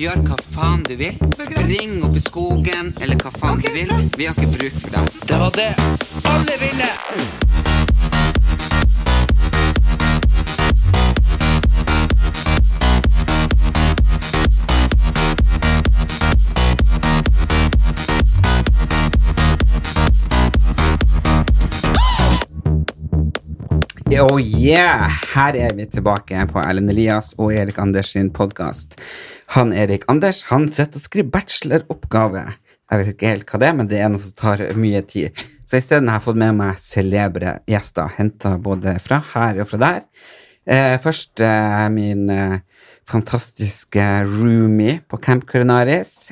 Gjør hva faen du vil. Spring opp i skogen, eller hva faen du vil. Vi har ikke bruk for deg. Oh yeah! Her er vi tilbake på Erlend Elias og Erik Anders sin podkast. Han Erik Anders han sitter og skriver bacheloroppgave. Jeg vet ikke helt hva det er, men det er noe som tar mye tid. Så isteden har jeg fått med meg celebre gjester, henta både fra her og fra der. Eh, først eh, min eh, fantastiske roomie på Camp Culinaris,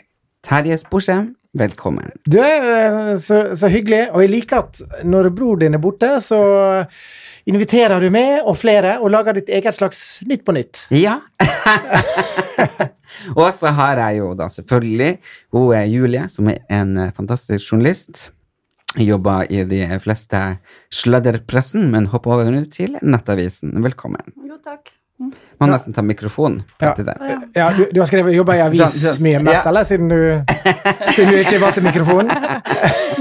Terje Sporsem. Velkommen. Du, eh, så, så hyggelig. Og jeg liker at når bror din er borte, så inviterer du meg og flere og lager ditt eget slags Nytt på nytt. Ja. og så har jeg jo da selvfølgelig hun er Julie, som er en eh, fantastisk journalist. Jobber i de fleste sladderpressen, men hopper over nå til Nettavisen. Velkommen. Jo, takk. Må nesten ta mikrofonen Ja. til deg. Ja, du, du har skrevet jobba i avis Så- så- mye Sånn, mest, ja. eller? Siden du, siden du ikke var til mikrofonen?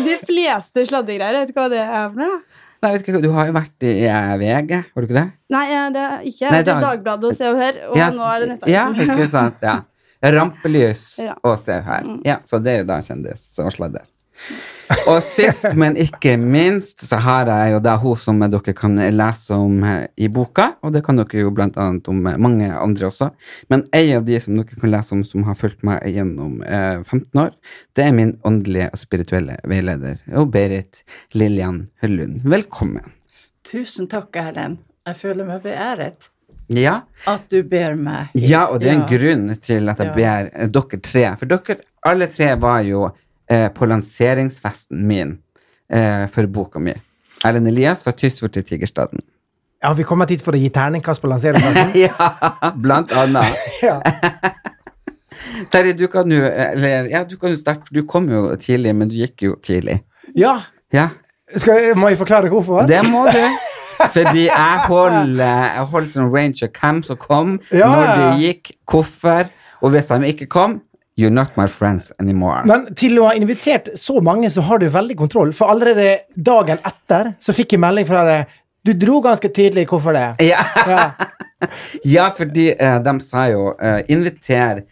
De fleste sladdegreier, jeg vet ikke hva det er for noe. Nei, vet ikke, du har jo vært i eh, VG, har du ikke det? Nei, eh, det er ikke. Nei, det er Dag- Dagbladet og Se og Hør, og Ja, nå er det Ja, Nettavisen. ikke sant. Ja. Rampelys Ja. Mm. og Se her. Ja, så det er jo da kjendis og sladder. Og sist, men ikke minst, så har jeg jo da hun som dere kan lese om eh, i boka, og det kan dere jo blant annet om eh, mange andre også, men ei av de som dere kan lese om som har fulgt meg gjennom eh, 15 år, det er min åndelige og spirituelle veileder, og Berit Lillian Høllund. Velkommen. Tusen takk, Erlend. Jeg føler meg beæret Ja, at du ber meg. Ja, og det er en Ja. grunn til at jeg Ja. ber eh, dere tre. For dere alle tre var jo eh, på lanseringsfesten min eh, for boka mi. Erlend Elias fra Tysfjord til Tigerstaden. Ja, vi kommer hit for å gi terningkast på lanseringen. ja, blant annet. Ja. Terje, du kan jo eh, eller, ja, du kan jo starte, for du kom jo tidlig, men du gikk jo tidlig. ja. Ja, Skal, må jeg forklare hvorfor? det må du. Fordi jeg holder jeg holder sånn ranger hvem som kom, Ja. når de gikk, hvorfor, og hvis de ikke kom, you're not my friends anymore. Men til å ha invitert så mange, så har du veldig kontroll. For allerede dagen etter så fikk jeg melding fra deg. Du dro ganske tidlig. Hvorfor det? Ja. Ja. Ja, fordi eh, de sa jo eh, inviter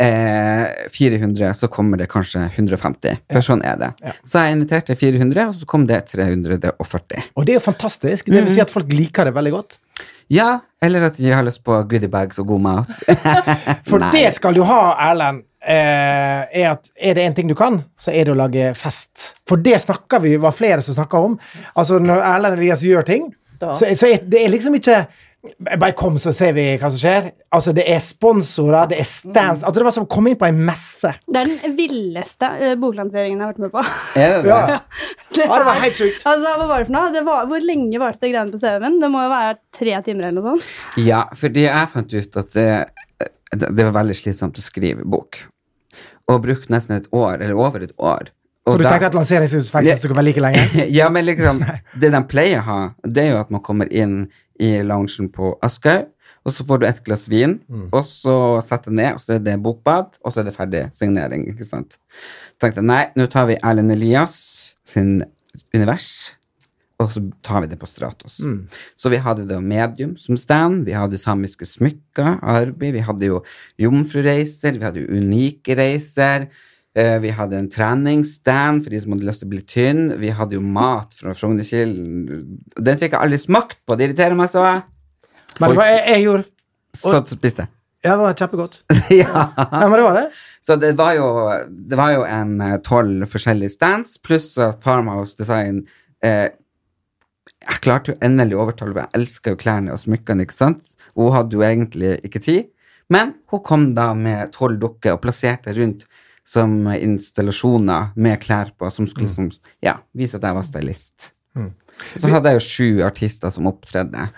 eh, 400, så kommer det kanskje 150. For sånn er det. Så jeg inviterte 400, og så kom det 340. Og det er jo fantastisk. Det vil si at folk liker det veldig godt. Ja, eller at de har lyst på goodiebags og god mat. For Nei. det skal du ha, Erlend, eh, er at er det én ting du kan, så er det å lage fest. For det snakker vi var flere som snakka om. Altså Når Erlend Elias gjør ting, Da. så, så er det er liksom ikke bare kom, så ser vi hva som skjer. Altså, det er sponsorer, det er stands altså, Det var som å komme inn på ei messe. Det er den villeste eh, boklanseringen jeg har vært med på. Er det det? Ja. Det Ja, det var er- helt sjukt. Altså, hva var det for noe? Det var, hvor lenge varte det greiene på CV-en? Det må jo være tre timer eller noe sånt. Ja, fordi jeg fant ut at det, det det var veldig slitsomt å skrive bok. Og brukte nesten et år, eller over et år. Så Og du da- tenkte at lanseringsutfekselen skulle være like lenge? ja, men liksom, det de pleier å ha, det er jo at man kommer inn i loungen på Askøy, og så får du et glass vin, Mm. og så setter jeg ned, og så er det bokbad, og så er det ferdig signering, ikke sant? tenkte jeg, nei, nå tar vi Erlend Elias sin univers, og så tar vi det på Stratos. Mm. Så vi hadde da medium som stand, vi hadde samiske smykker, arbeid, vi hadde jo jomfrureiser, vi hadde jo unike reiser, eh, vi hadde en treningsstand for de som hadde lyst til å bli tynn, vi hadde jo mat fra Frognerkilden. Den fikk jeg aldri smakt på, det irriterer meg så. Men det var, jeg, jeg gjorde Satt og spiste. Ja, det var kjempegodt. ja. Ja, men det var det. Så det var jo, det var jo en eh, tolv forskjellige stands, pluss at Farmhouse Design eh, Jeg klarte jo endelig å overtale henne. Jeg elsker jo klærne og smykkene, ikke sant? Og Hun hadde jo egentlig ikke tid, Men hun kom da med tolv dukker og plasserte rundt som installasjoner med klær på, som skulle liksom, ja, vise at jeg var stylist. Så hadde jeg jo sju artister som opptredde.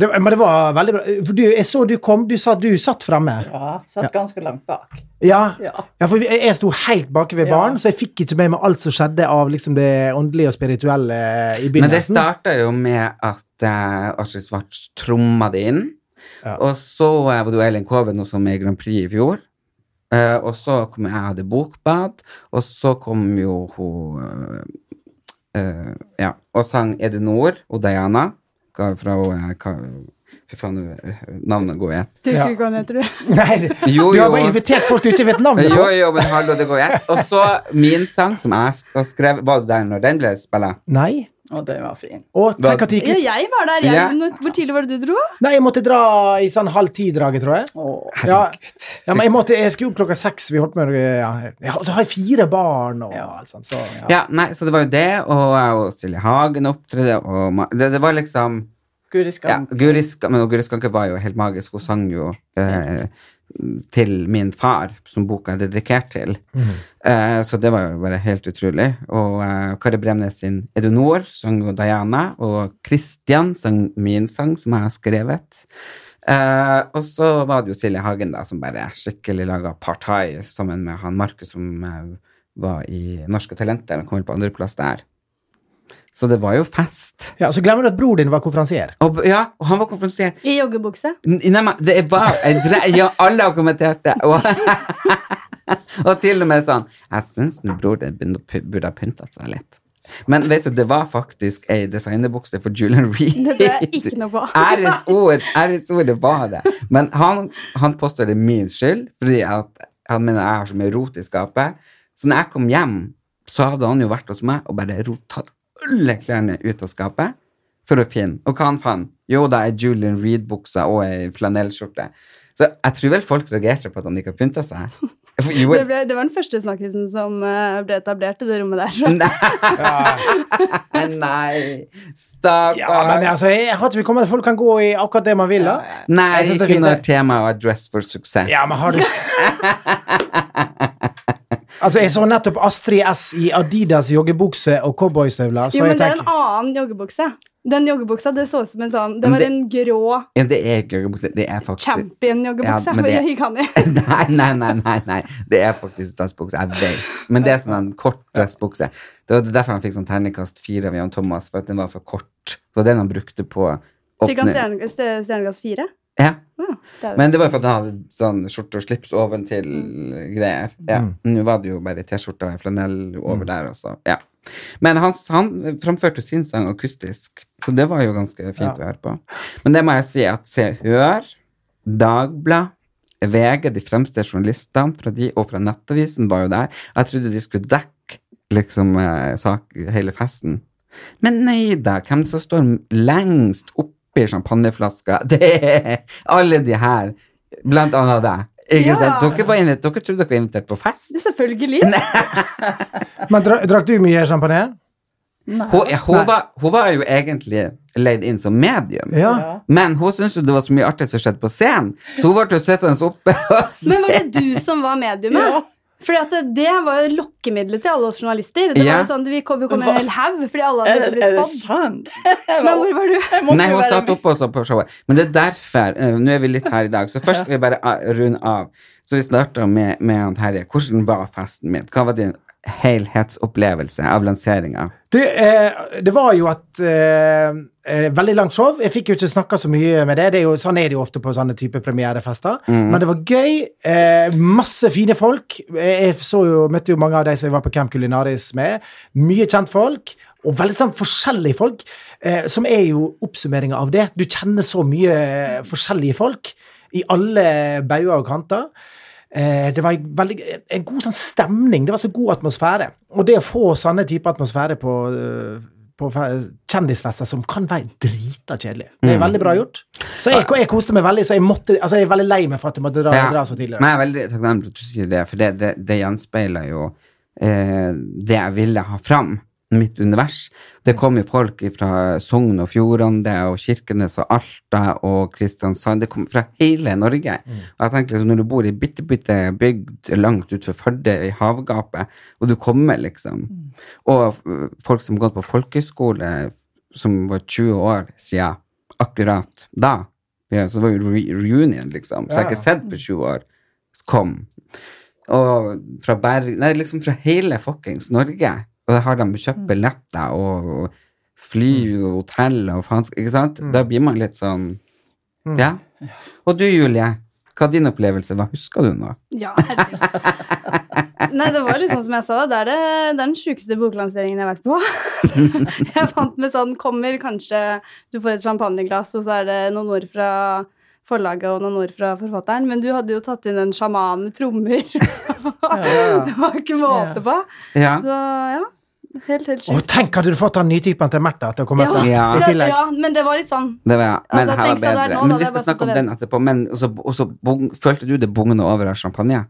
Det, men det var veldig bra. For du, jeg så du kom, du sa du satt fremme. Ja, satt ganske langt bak. Ja. Ja. ja, for jeg jeg sto helt bak ved Ja. baren, så jeg fikk ikke med meg alt som skjedde av liksom det åndelige og spirituelle Men i det begynnelsen. starta jo med at uh, Astrid Svarts tromma det inn. Ja. Og så eh, var det jo Elin Kove nå som er i Grand Prix i fjor. Eh, og så kom jeg og hadde bokbad, og så kom jo hun eh, eh, Ja, og sang Er det nord? og Diana. Hva- Fra uh, hva, Fy faen, eh, navnet går i ett. Du husker Ja. ikke hva den heter, du? Nei, Jo, du har jo. bare invitert folk du ikke vet navnet på. Jo, jo, men hallo, det går i ett. Og så min sang som jeg sk- skrev, var det der når den ble spilla? Nei. Og den var fin. Og tenk at det Ja, gikk ut. jeg var der. Jeg, Ja. Når, hvor tidlig var det du dro? Nei, jeg måtte dra i sånn halv ti-draget, tror jeg. Åh. Ja, ja, men jeg, måtte, jeg skulle opp klokka seks. Vi holdt med ja. ja, Så har jeg fire barn og Ja. alt sånt. Så, ja. Ja, nei, så det var jo det, og jeg og Silje Hagen opptredde, og ma- det, det var liksom Guri ja, Skam. Guri Skanke, men Guri Skanke var jo helt magisk, hun sang jo eh, til min far, som boka er dedikert til. Eh, så det var jo bare helt utrolig. Og eh, Kari Bremnes sin Er du nord? sang jo Diana, og Christian sang min sang, som jeg har skrevet. Eh, og så var det jo Silje Hagen, da, som bare skikkelig laga partai sammen med han Markus, som eh, var i Norske Talenter, og kom vel på andreplass der. Så det var jo fest. Ja, så glemmer du at bror din var konferansier. Og, b- ja, og han var konferansier. I joggebukse. N- Nei, men det var jeg, dre- Ja, alle har kommentert det. Og, og til og med sånn Jeg syns nå bror din begynner å py- burde ha pynta seg litt. Men vet du, det var faktisk ei designerbukse for Julian Reed. Det tror jeg ikke noe på. Ærens ord, ærens ord, det var det. Men han, han påstår det er min skyld, fordi at han mener jeg har så mye rot i skapet. Så når jeg kom hjem, så hadde han jo vært hos meg og bare rot, tatt alle klærne ut av skapet for å finne. Og hva han fant? Jo, da er Julian Reed-buksa og ei flanellskjorte. Så jeg tror vel folk reagerte på at han ikke har pynta seg. For Jo, Det, ble, det var den første snakkisen som eh, ble etablert i det rommet der. Så. nei, stakkar. Ja, men altså, jeg har ikke kommet Folk kan gå i akkurat det man vil, da. Nei, Jeg synes det er ikke fint, når det. temaet var 'dress for success'. Ja, men har du s- Altså, jeg så nettopp Astrid S i Adidas joggebukse og cowboystøvler, så Jo, men jeg det er en tenker annen joggebukse. Den joggebuksa, det så ut som en sånn Det Men var det- en grå Ja, det er ikke joggebukse. Det er faktisk Ja, champion-joggebukse. men det- jeg gikk an i. Nei, nei, nei, nei, nei. Det er faktisk dressbukse. Jeg vet. Men det er sånn en kort dressbukse. Det var derfor han fikk sånn terningkast fire av Jan Thomas, for at den var for kort. Det var den han brukte på Fikk han åpning. stjerne- ste- stjerneklass eh, fire? Ja. Ja, det er det. Men det var jo for at han hadde sånn skjorte og slips oventil greier. Ja. Nå var det jo bare T-skjorte og flanell over der også. Ja. Men han, han framførte jo sin sang akustisk, så det var jo ganske fint å høre på. Men det må jeg si at Se og Hør, Dagblad, VG, de fremste journalistene fra de, og fra Nettavisen var jo der. Jeg trodde de skulle dekke liksom eh, sak, hele festen. Men nei da, hvem som står lengst oppi champagneflaska? Det er alle de her, blant annet deg. Ikke Ja. sant? Dere, var invitert, dere trodde dere var invitert på fest? Selvfølgelig. Men dra, drakk du mye champagne? Hun, hun, var, hun var jo egentlig leid inn som medium. Ja. Ja. Men hun syntes jo det var så mye artig som skjedde på scenen, så hun ble jo sittende oppe og se. Men var det du som var mediumet? Ja. Fordi at det, det var jo lokkemiddelet til alle oss journalister. Det Ja. var jo sånn, at Vi kom, vi kom en hel haug fordi alle Er hadde lyst det, til er å det bli spådd. sant? Men hvor var du? Jeg måtte Nei, jo hun være satt med. oppe og så på showet. Men det er derfor eh, Nå er vi litt her i dag, så først skal vi bare ah, runde av. Så vi starter med, med han Terje. Hvordan var festen min? Hva var din helhetsopplevelse av lanseringa? Du, eh, det var jo et eh, eh, veldig langt show. Jeg fikk jo ikke snakka så mye med det. det er jo, sånn er det jo ofte på sånne type premierefester. Men det var gøy. Eh, masse fine folk. Eh, Jeg så jo, møtte jo mange av de som jeg var på Camp Culinaris med. Mye kjentfolk. Og veldig sånn forskjellige folk, eh, som er jo oppsummeringa av det. Du kjenner så mye eh, forskjellige folk i alle bauger og kanter. Eh, Det var en veldig, en god sånn stemning. Det var så god atmosfære. Og det å få sånne type atmosfære på, eh, på fe- kjendisfester som kan være drita kjedelig. Mm. Det er veldig bra gjort. Så jeg, jeg koste meg veldig, så jeg, måtte, altså jeg er veldig lei meg for at jeg måtte dra, Ja. dra så tidlig. Men jeg er veldig takknemlig for at du sier det, for det, det, det gjenspeiler jo eh, det jeg ville ha fram mitt univers. Det kom jo folk fra Sogn og Fjordane det, og Kirkenes og Alta og Kristiansand. Det kom fra hele Norge. Og jeg tenker liksom, Når du bor i bitte, bitte bygd langt utenfor Førde, i havgapet, og du kommer, liksom Og øh, folk som har gått på folkehøyskole, som var 20 år siden akkurat da ja, Så det var jo re reunion, liksom. Så jeg har ikke sett på 20 år. Kom. Og fra Berg Nei, liksom fra hele fuckings Norge. Og da har de kjøpt billetter og fly og hotell og faen Ikke sant? Da blir man litt sånn Ja. Og du, Julie, hva din opplevelse var? Husker du noe? Ja, herregud. Nei, det var litt sånn som jeg sa, det er, det, det er den sjukeste boklanseringen jeg har vært på. jeg fant med sånn Kommer kanskje du får et champagneglass, og så er det noen ord fra forlaget og noen ord fra forfatteren, men du hadde jo tatt inn en sjaman med trommer. det var ikke måte på. Ja. Så ja, helt, helt Å, sjukt. tenk, hadde du fått han nytypen til Märtha til å komme Ja, etter? Ja. I det, tillegg. ja, men det var litt sånn Det var, jeg. men Altså, her tenk så det var bedre. er nå, da, men vi det er skal bare så snakke om du den etterpå. Men også, også bung, følte du det bugna over av champagne?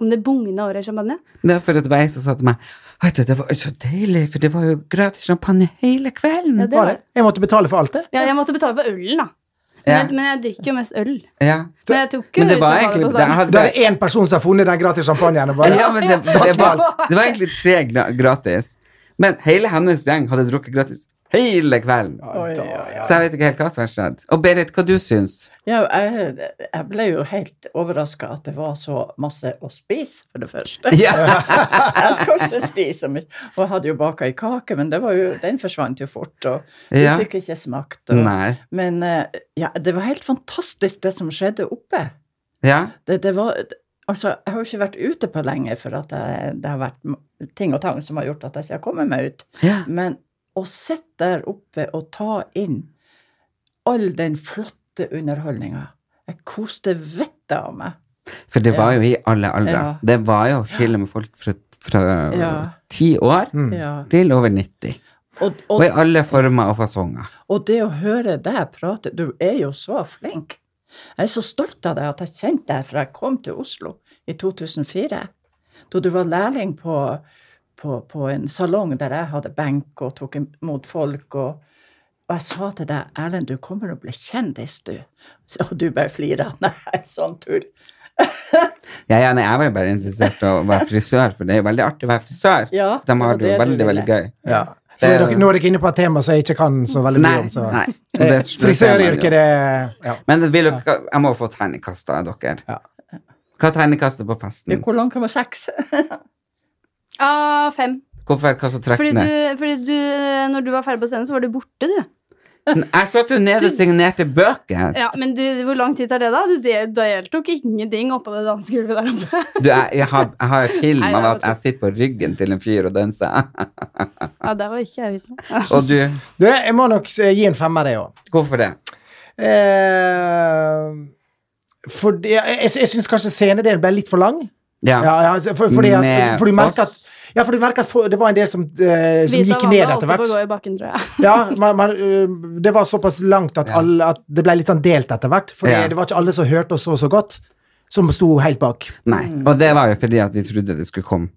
om det bugna over i champagne. Det var for et vei som sa til meg Vet du, det var så deilig, for det var jo gratis champagne hele kvelden. Ja, det Var var det? Jeg måtte betale for alt det? Ja, jeg måtte betale for ølen, da. Men, Ja. jeg, men jeg drikker jo mest øl. Ja. Men jeg tok jo Men det var champagne egentlig på det, jeg sånn. hadde, Da er det én person som har funnet den gratis champagnen. og Bare, Ja, men det, det, var, det var egentlig tre gra- gratis. Men hele hennes gjeng hadde drukket gratis hele kvelden. Oi, oi, oi. Så jeg vet ikke helt hva som har skjedd. Og Berit, hva du syns? Ja, jeg, jeg ble jo helt overraska at det var så masse å spise, for det første. Ja. Jeg skal ikke spise så mye. Og jeg hadde jo baka ei kake, men det var jo, den forsvant jo fort. Og du Ja. fikk ikke smakt. Og, Nei. Men eh, ja, det var helt fantastisk, det som skjedde oppe. Ja. Det, det var Altså, jeg har jo ikke vært ute på lenge, for at jeg, det har vært m- ting og tang som har gjort at jeg ikke har kommet meg ut. Ja. Men å sitte der oppe og ta inn all den flotte underholdninga Jeg koste vettet av meg. For det var jo i alle aldre. Ja. Det var jo til og med folk fra, fra Ja. ti år Mm. Ja. til over 90. Og, Og og, i alle former og fasonger. og det å høre deg prate Du er jo så flink. Jeg er så stolt av deg at jeg kjente deg fra jeg kom til Oslo i 2004. Da du var lærling på, på, på en salong der jeg hadde benk og tok imot folk. Og, og jeg sa til deg, Erlend, du kommer til å bli kjendis, du. Og du bare flirer. Nei, sånn tull. Ja, ja, nei, jeg var jo bare interessert i å være frisør, for det er jo veldig artig å være frisør. Ja, De det var har det jo det du veldig, veldig ville. gøy. Ja. Nå er dere- Nå er dere inne på et tema som jeg ikke kan så veldig mye Nei, om. Så. nei. Og Eh, det- Frisøryrket, det ja. Men vil dere, jeg må få terningkast av dere. Ja. Hva er terningkastet på festen? Hvor langt kommer seks? Ah, fem. Hvorfor hva som trekker Fordi du, ned? fordi du, eh, når du var ferdig på scenen, så var du borte, du. Jeg satt jo nede og signerte bøker. Ja, Men du, hvor lang tid tar det, da? Du del- deltok ingenting oppå det dansegulvet der oppe. Du, jeg, jeg, har, jeg har jo film Nei, av det var at jeg sitter på ryggen til en fyr og danser. Ja, der var ikke jeg vitne. Og du, Du, jeg må nok eh, gi en femmer, jeg òg. hvorfor det? Eh, fordi- jeg jeg, jeg syns kanskje scenedelen ble litt for lang. Ja. Ja, ja, altså, for, fordi Med at, for du merker at oss. ja, for du merker at for, det var en del som, eh, som gikk ned etter holdt på å hvert. gå i bakken, tror jeg. Ja, man, man, eh, det var såpass langt at, Ja. alle, at det ble litt sånn delt etter hvert. For Ja. det var ikke alle som hørte oss så så godt, som sto helt bak. Nei. Mm. Og det var jo fordi at vi trodde det skulle komme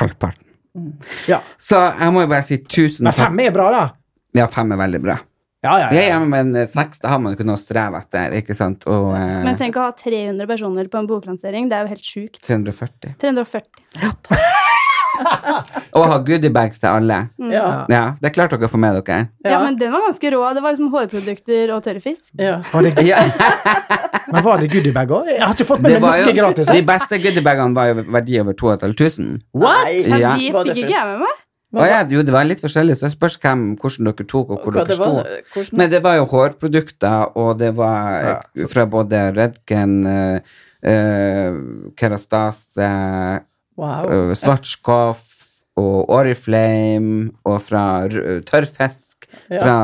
halvparten. Mm. Ja. Så jeg må jo bare si tusen Men fem er bra, da. Ja, fem er veldig bra. Ja, ja, Jeg ja. er med en eh, seks, da har man jo kunnet streve etter, ikke sant? Og eh, Men tenk å ha 300 personer på en boklansering. Det er jo helt sjukt. 340. 340. Og ha goodiebags til alle. Ja. Ja, det er klart dere får med dere. Mm. Ja. Ja. men den var ganske rå. Det var liksom hårprodukter og tørrfisk. ja. Var det, Ja. men var det goodiebag òg? Jeg har ikke fått med Det meg var noe jo, gratis. de beste goodiebagene var jo verdi over 2500. What? Ja. Nei. Men de Var det fikk ikke jeg med meg. Å ja, jo, det var litt forskjellig, så det spørs hvem, hvordan dere tok, og hvor Hva dere det sto. var? Hvordan? Men det var jo hårprodukter, og det var eh, fra både Redken, eh, eh, Kerastase, Wow. eh, Svartskoff og Oriflame, og fra r- eh, tørrfisk, Ja. fra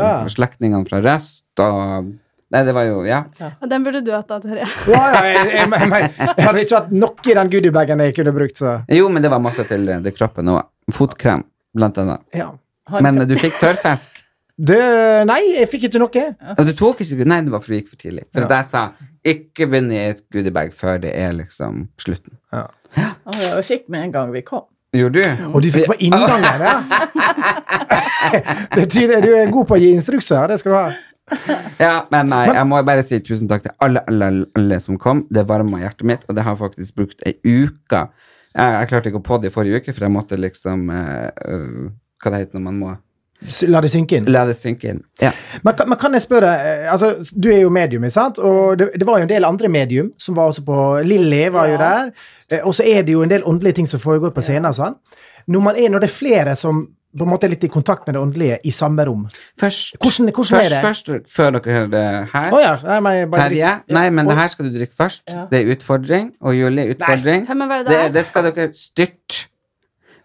Ja. eh, slektningene fra Røst, og Nei, det var jo Ja. Ja, Den burde du hatt, da, Terje. Ja, ja, jeg, jeg, jeg, jeg, jeg hadde ikke hatt noe i den goodiebagen jeg kunne brukt, så Jo, men det var masse til eh, det kroppen òg. Fotkrem, blant annet. ja. Han- Men eh, du fikk tørrfisk. Du, nei, jeg fikk ikke noe. Og du tok ikke Nei, det var fordi det gikk for tidlig. For at jeg sa ikke begynn i et goodiebag før det er liksom slutten. Ah, ja, jeg fikk med en gang vi kom. Gjorde du? Og du fikk på inngangen, ja. Det er tydelig, du er god på å gi instrukser, det skal du ha. Ja, men nei, jeg må bare si tusen takk til alle, alle, alle som kom. Det varma hjertet mitt, og det har jeg faktisk brukt ei uke. Jeg, jeg klarte ikke å podde i forrige uke, for jeg måtte liksom eh, øh, Hva det heter når man må S- La det synke inn. La det synke inn. Ja. Men, kan- men kan jeg spørre, eh, altså, du er jo medium, ikke sant? Og det, det var jo en del andre medium som var også på Lilly var jo der. Eh, Og så er det jo en del åndelige ting som foregår på scenen og sånn. Når, man er, når det er flere som på en måte er litt i kontakt med det åndelige i samme rom. Først, Hvordan- først, hvordan er det? først, før dere hører det her Å ja. Nei, men jeg bare, Terje, nei, men det Oi. her skal du drikke først. Det er utfordring. Og Julie, utfordring. Hvem er det det, der? det skal dere styrt.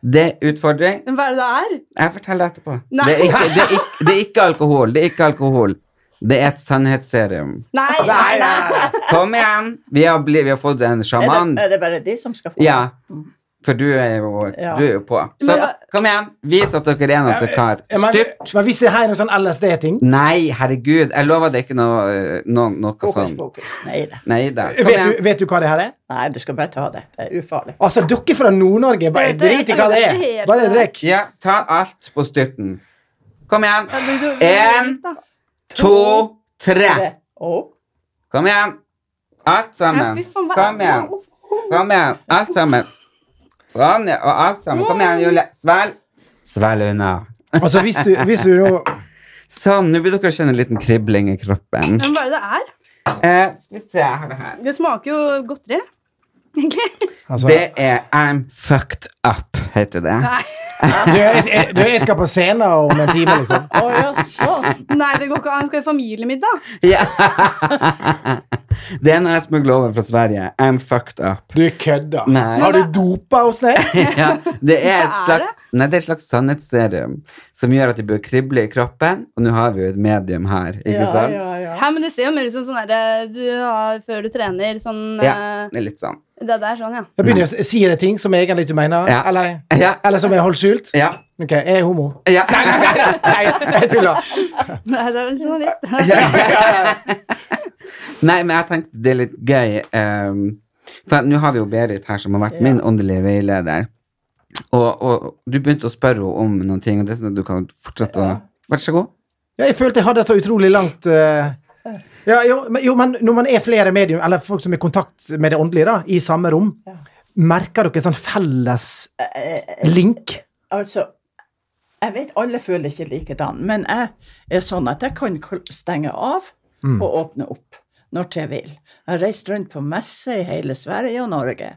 Det er utfordring. Men Hva er det det er? Jeg forteller etterpå. Nei. Det er, ikke, det, er ikke, det er ikke alkohol. Det er ikke alkohol. Det er et sannhetsserum. Nei, nei, nei. Kom igjen! Vi har, bli, vi har fått en Er det, sjaman. er det bare de som skal få Ja. For du er jo, Ja. du er jo på. Så Men- kom igjen! Vis at dere er en av dere kar. Ja, men, Styrt! men hvis det her er noe sånn LSD-ting Nei, herregud. Jeg lover det ikke noe, eh, noe, noe Fokus, sånn. fokus. Nei da. Nei da. Mm. Kom vet, du- igjen. vet du hva det her er? Nei, du skal bare ta det. Det er ufarlig. Altså, dere fra Nord-Norge, bare Jeg vet det, jeg drit i hva det skjønner ikke er. helt Bare det. drikk. Ja, ta alt på styrten. Kom igjen. Ja, men du- du- En, da. to, tre. Det- Å, Kom igjen. Alt Ja, fy sammen. faen, hva er Kom det? igjen. Kom igjen. Alt sammen. Sånn, ja, og alt sammen. Kom igjen, Julie. Svelg. Svelg unna. Altså, hvis du, hvis du nå Sånn, nå blir dere kjenne en liten kribling i kroppen. Men hva er det det er? Eh, skal vi se, jeg har det her. Det smaker jo godteri. Egentlig. altså, Det er I'm fucked up, heter det. du, jeg, du, jeg skal på scenen om en time, liksom. Å ja, sånn. Nei, det går ikke an. Skal i familiemiddag. Ja. det er når jeg smugler over fra Sverige. I'm fucked up. Du kødder. Nei. Har du dopa oss ned? ja, det er et Hva er slags, nei, det er et slags sannhetsserum som gjør at det bør krible i kroppen. Og nå har vi jo et medium her, ikke Ja, sant? ja, ja. Hæ, men det ser jo mer ut som sånn derre du har før du trener. Sånn Ja, eh, det er litt sånn. Det der, sånn, ja. Da begynner jeg å si det ting som jeg egentlig ikke mener, Ja. eller, Ja. eller som jeg holdt skjult. Ja. Ok, jeg er homo. ja. Nei, jeg tuller. Nei, det er vel en journalist. Nei, men jeg tenkte det er litt gøy. ehm, for at nå har vi jo Berit her, som har vært min åndelige veileder. Og, og du begynte å spørre henne om noen ting, og det syns jeg du kan fortsette å Vær så god. Ja, jeg følte jeg hadde et så utrolig langt eh, ja, jo, men, jo, men når man er flere medium, eller folk som er i kontakt med det åndelige, da, i samme rom, merker dere sånn felles link? Eh, Altså, jeg vet alle føler ikke likedan, men jeg er sånn at jeg kan kl- stenge av Mm. og åpne opp når jeg vil. Jeg har reist rundt på messe i hele Sverige og Norge.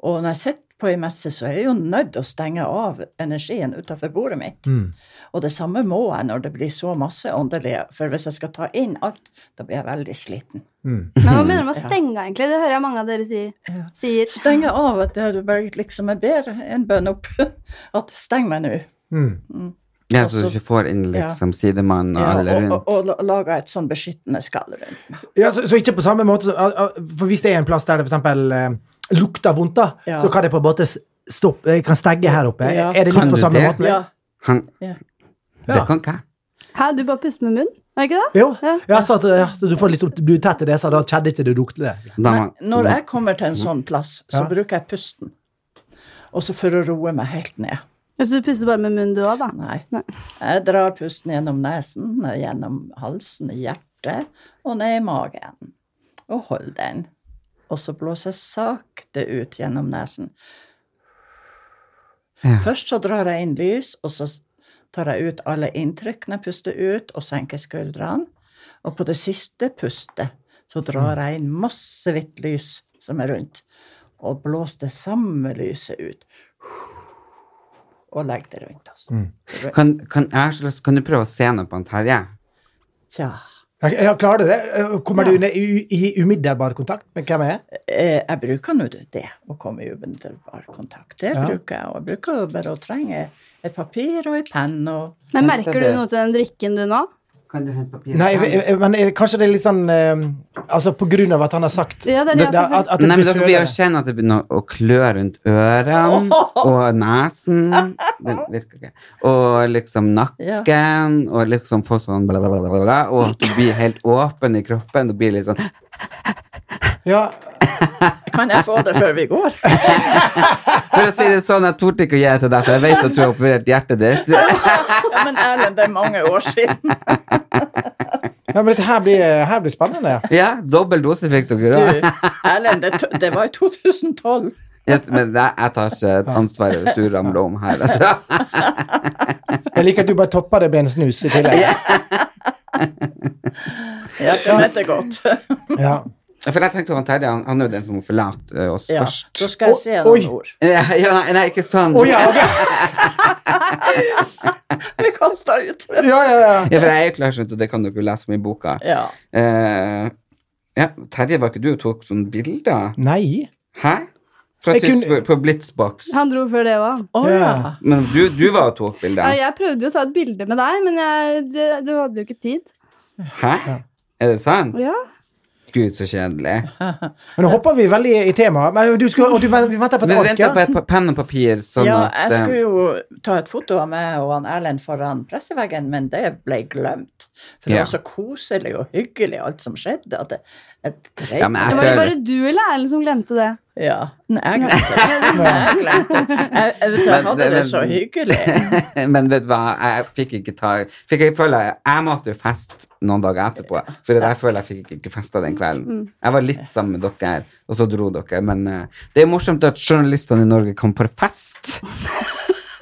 Og når jeg sitter på ei messe, så er jeg jo nødt til å stenge av energien utafor bordet mitt. Mm. Og det samme må jeg når det blir så masse åndelige, for hvis jeg skal ta inn alt, da blir jeg veldig sliten. Men hva mener du med å stenge, egentlig? Det hører jeg mange av dere si, sier. Stenge av at det du bare liksom jeg ber en bønn opp at steng meg nå. Ja, så du Altså- ikke får inn liksom sidemann og alle og, og, rundt. og, la- laga et sånn beskyttende skall rundt meg. Ja, så, så ikke på samme måte som- al- al- For hvis det er en plass der det f.eks. Uh, lukter vondt, da, Ja. så kan det på en måte s- stoppe Jeg kan stegge her oppe. Ja. Er det Kan litt på du samme det? måten? Ja. Han, Ja. Det kan ikke jeg. Hæ, du bare puster med munnen? Er det ikke det? Jo. Ja. Ja, så at, ja, så du får litt opp- blir tett i det, så da kjenner ikke det lukter. Da Men må- når jeg kommer til en sånn plass, så Ja. bruker jeg pusten. Og så for å roe meg helt ned. Så du puster bare med munnen, du òg, da? Nei. Nei. Jeg drar pusten gjennom nesen, gjennom halsen, hjertet og ned i magen. Og hold den. Og så blåser jeg sakte ut gjennom nesen. Ja. Først så drar jeg inn lys, og så tar jeg ut alle inntrykkene, puster ut og senker skuldrene. Og på det siste pustet så drar jeg inn masse hvitt lys som er rundt, og blåser det samme lyset ut. Og legger det rundt altså. oss. Kan, kan, jeg, har så lyst- kan du prøve å se noe på han Terje? Tja. Ja, ja, klarer du det? Eh, Kommer du ned i, i umiddelbar kontakt med hvem jeg er? Eh, jeg bruker nå det, å komme i umiddelbar kontakt. Det Ja. bruker jeg. Og jeg bruker jo bare å trenge et papir og en penn og Men Vent, merker det- du noe til den drikken du nå? Kan du hente papir? Nei, jeg- jeg- men er, kanskje det er litt sånn eh, Altså på grunn av at han har sagt Ja, det er det jeg Da- har at, sagt. at det Nei, men blir dere blir jo følere. kjenne at det begynner å klø rundt ørene og nesen Den virker ikke. Og liksom nakken, og liksom få sånn bla, bla, bla, bla, bla, Og at du blir helt åpen i kroppen. Du blir litt sånn Ja, Kan jeg få det før vi går? For å si det sånn, jeg torde ikke å gi det til deg, for jeg vet at du har operert hjertet ditt. Ja, men Erlend, det er mange år siden. Ja, men dette her blir, her blir spennende. Ja, dobbel dose fikk dere òg. Du, Erlend, det, to- det var i 2012. Ja, Men jeg, jeg tar ikke ansvaret hvis du ramler om her. Altså. Jeg liker at du bare topper det med en snus i tillegg. Hjertet mitt er godt. Ja. For jeg tenker jo han Terje han, han er jo den som må forlate eh, oss Ja, først. da skal jeg si Oi. noen ord. Ja, ja, nei, nei, ikke sånn. Å, ja, ok. Vi kasta ut. ja, ja, ja. Ja, for jeg er jo klarsynt, og det kan dere jo lese om i boka. Ja. Eh, ja, Terje, var ikke du og tok sånne bilder? Nei. Hæ? Fra Jeg kunne- Tyskland- På Blitzbox. Han dro før det òg. Å ja. Men du, du var og tok Ja, bilder. jeg prøvde jo å ta et bilde med deg, men jeg, det, du hadde jo ikke tid. Hæ? Er det sant? Ja. Gud, så kjedelig. Men nå hopper vi veldig i temaet. Men du skulle, og du vent- vi venter på et Men ark, vent da ja. på et pa- penn og papir, sånn ja, at jeg eh, skulle jo ta et foto av meg og han Erlend foran presseveggen, men det ble glemt. For det Ja. var så koselig og hyggelig, alt som skjedde. At det, at det Ja, men jeg Var det føler bare du eller Erlend som glemte det? ja. Nei, jeg glemte det. Nei, Jeg, glemte det. jeg, jeg, vet du, jeg Men- hadde det men- så hyggelig. Men vet du hva, jeg fikk ikke ta fikk jeg, føler jeg, jeg måtte jo feste noen dager etterpå, for jeg føler jeg fikk ikke festa den Mm. kvelden. Jeg var litt sammen med dere, og så dro dere. Men eh, det er morsomt at journalistene i Norge kom på fest,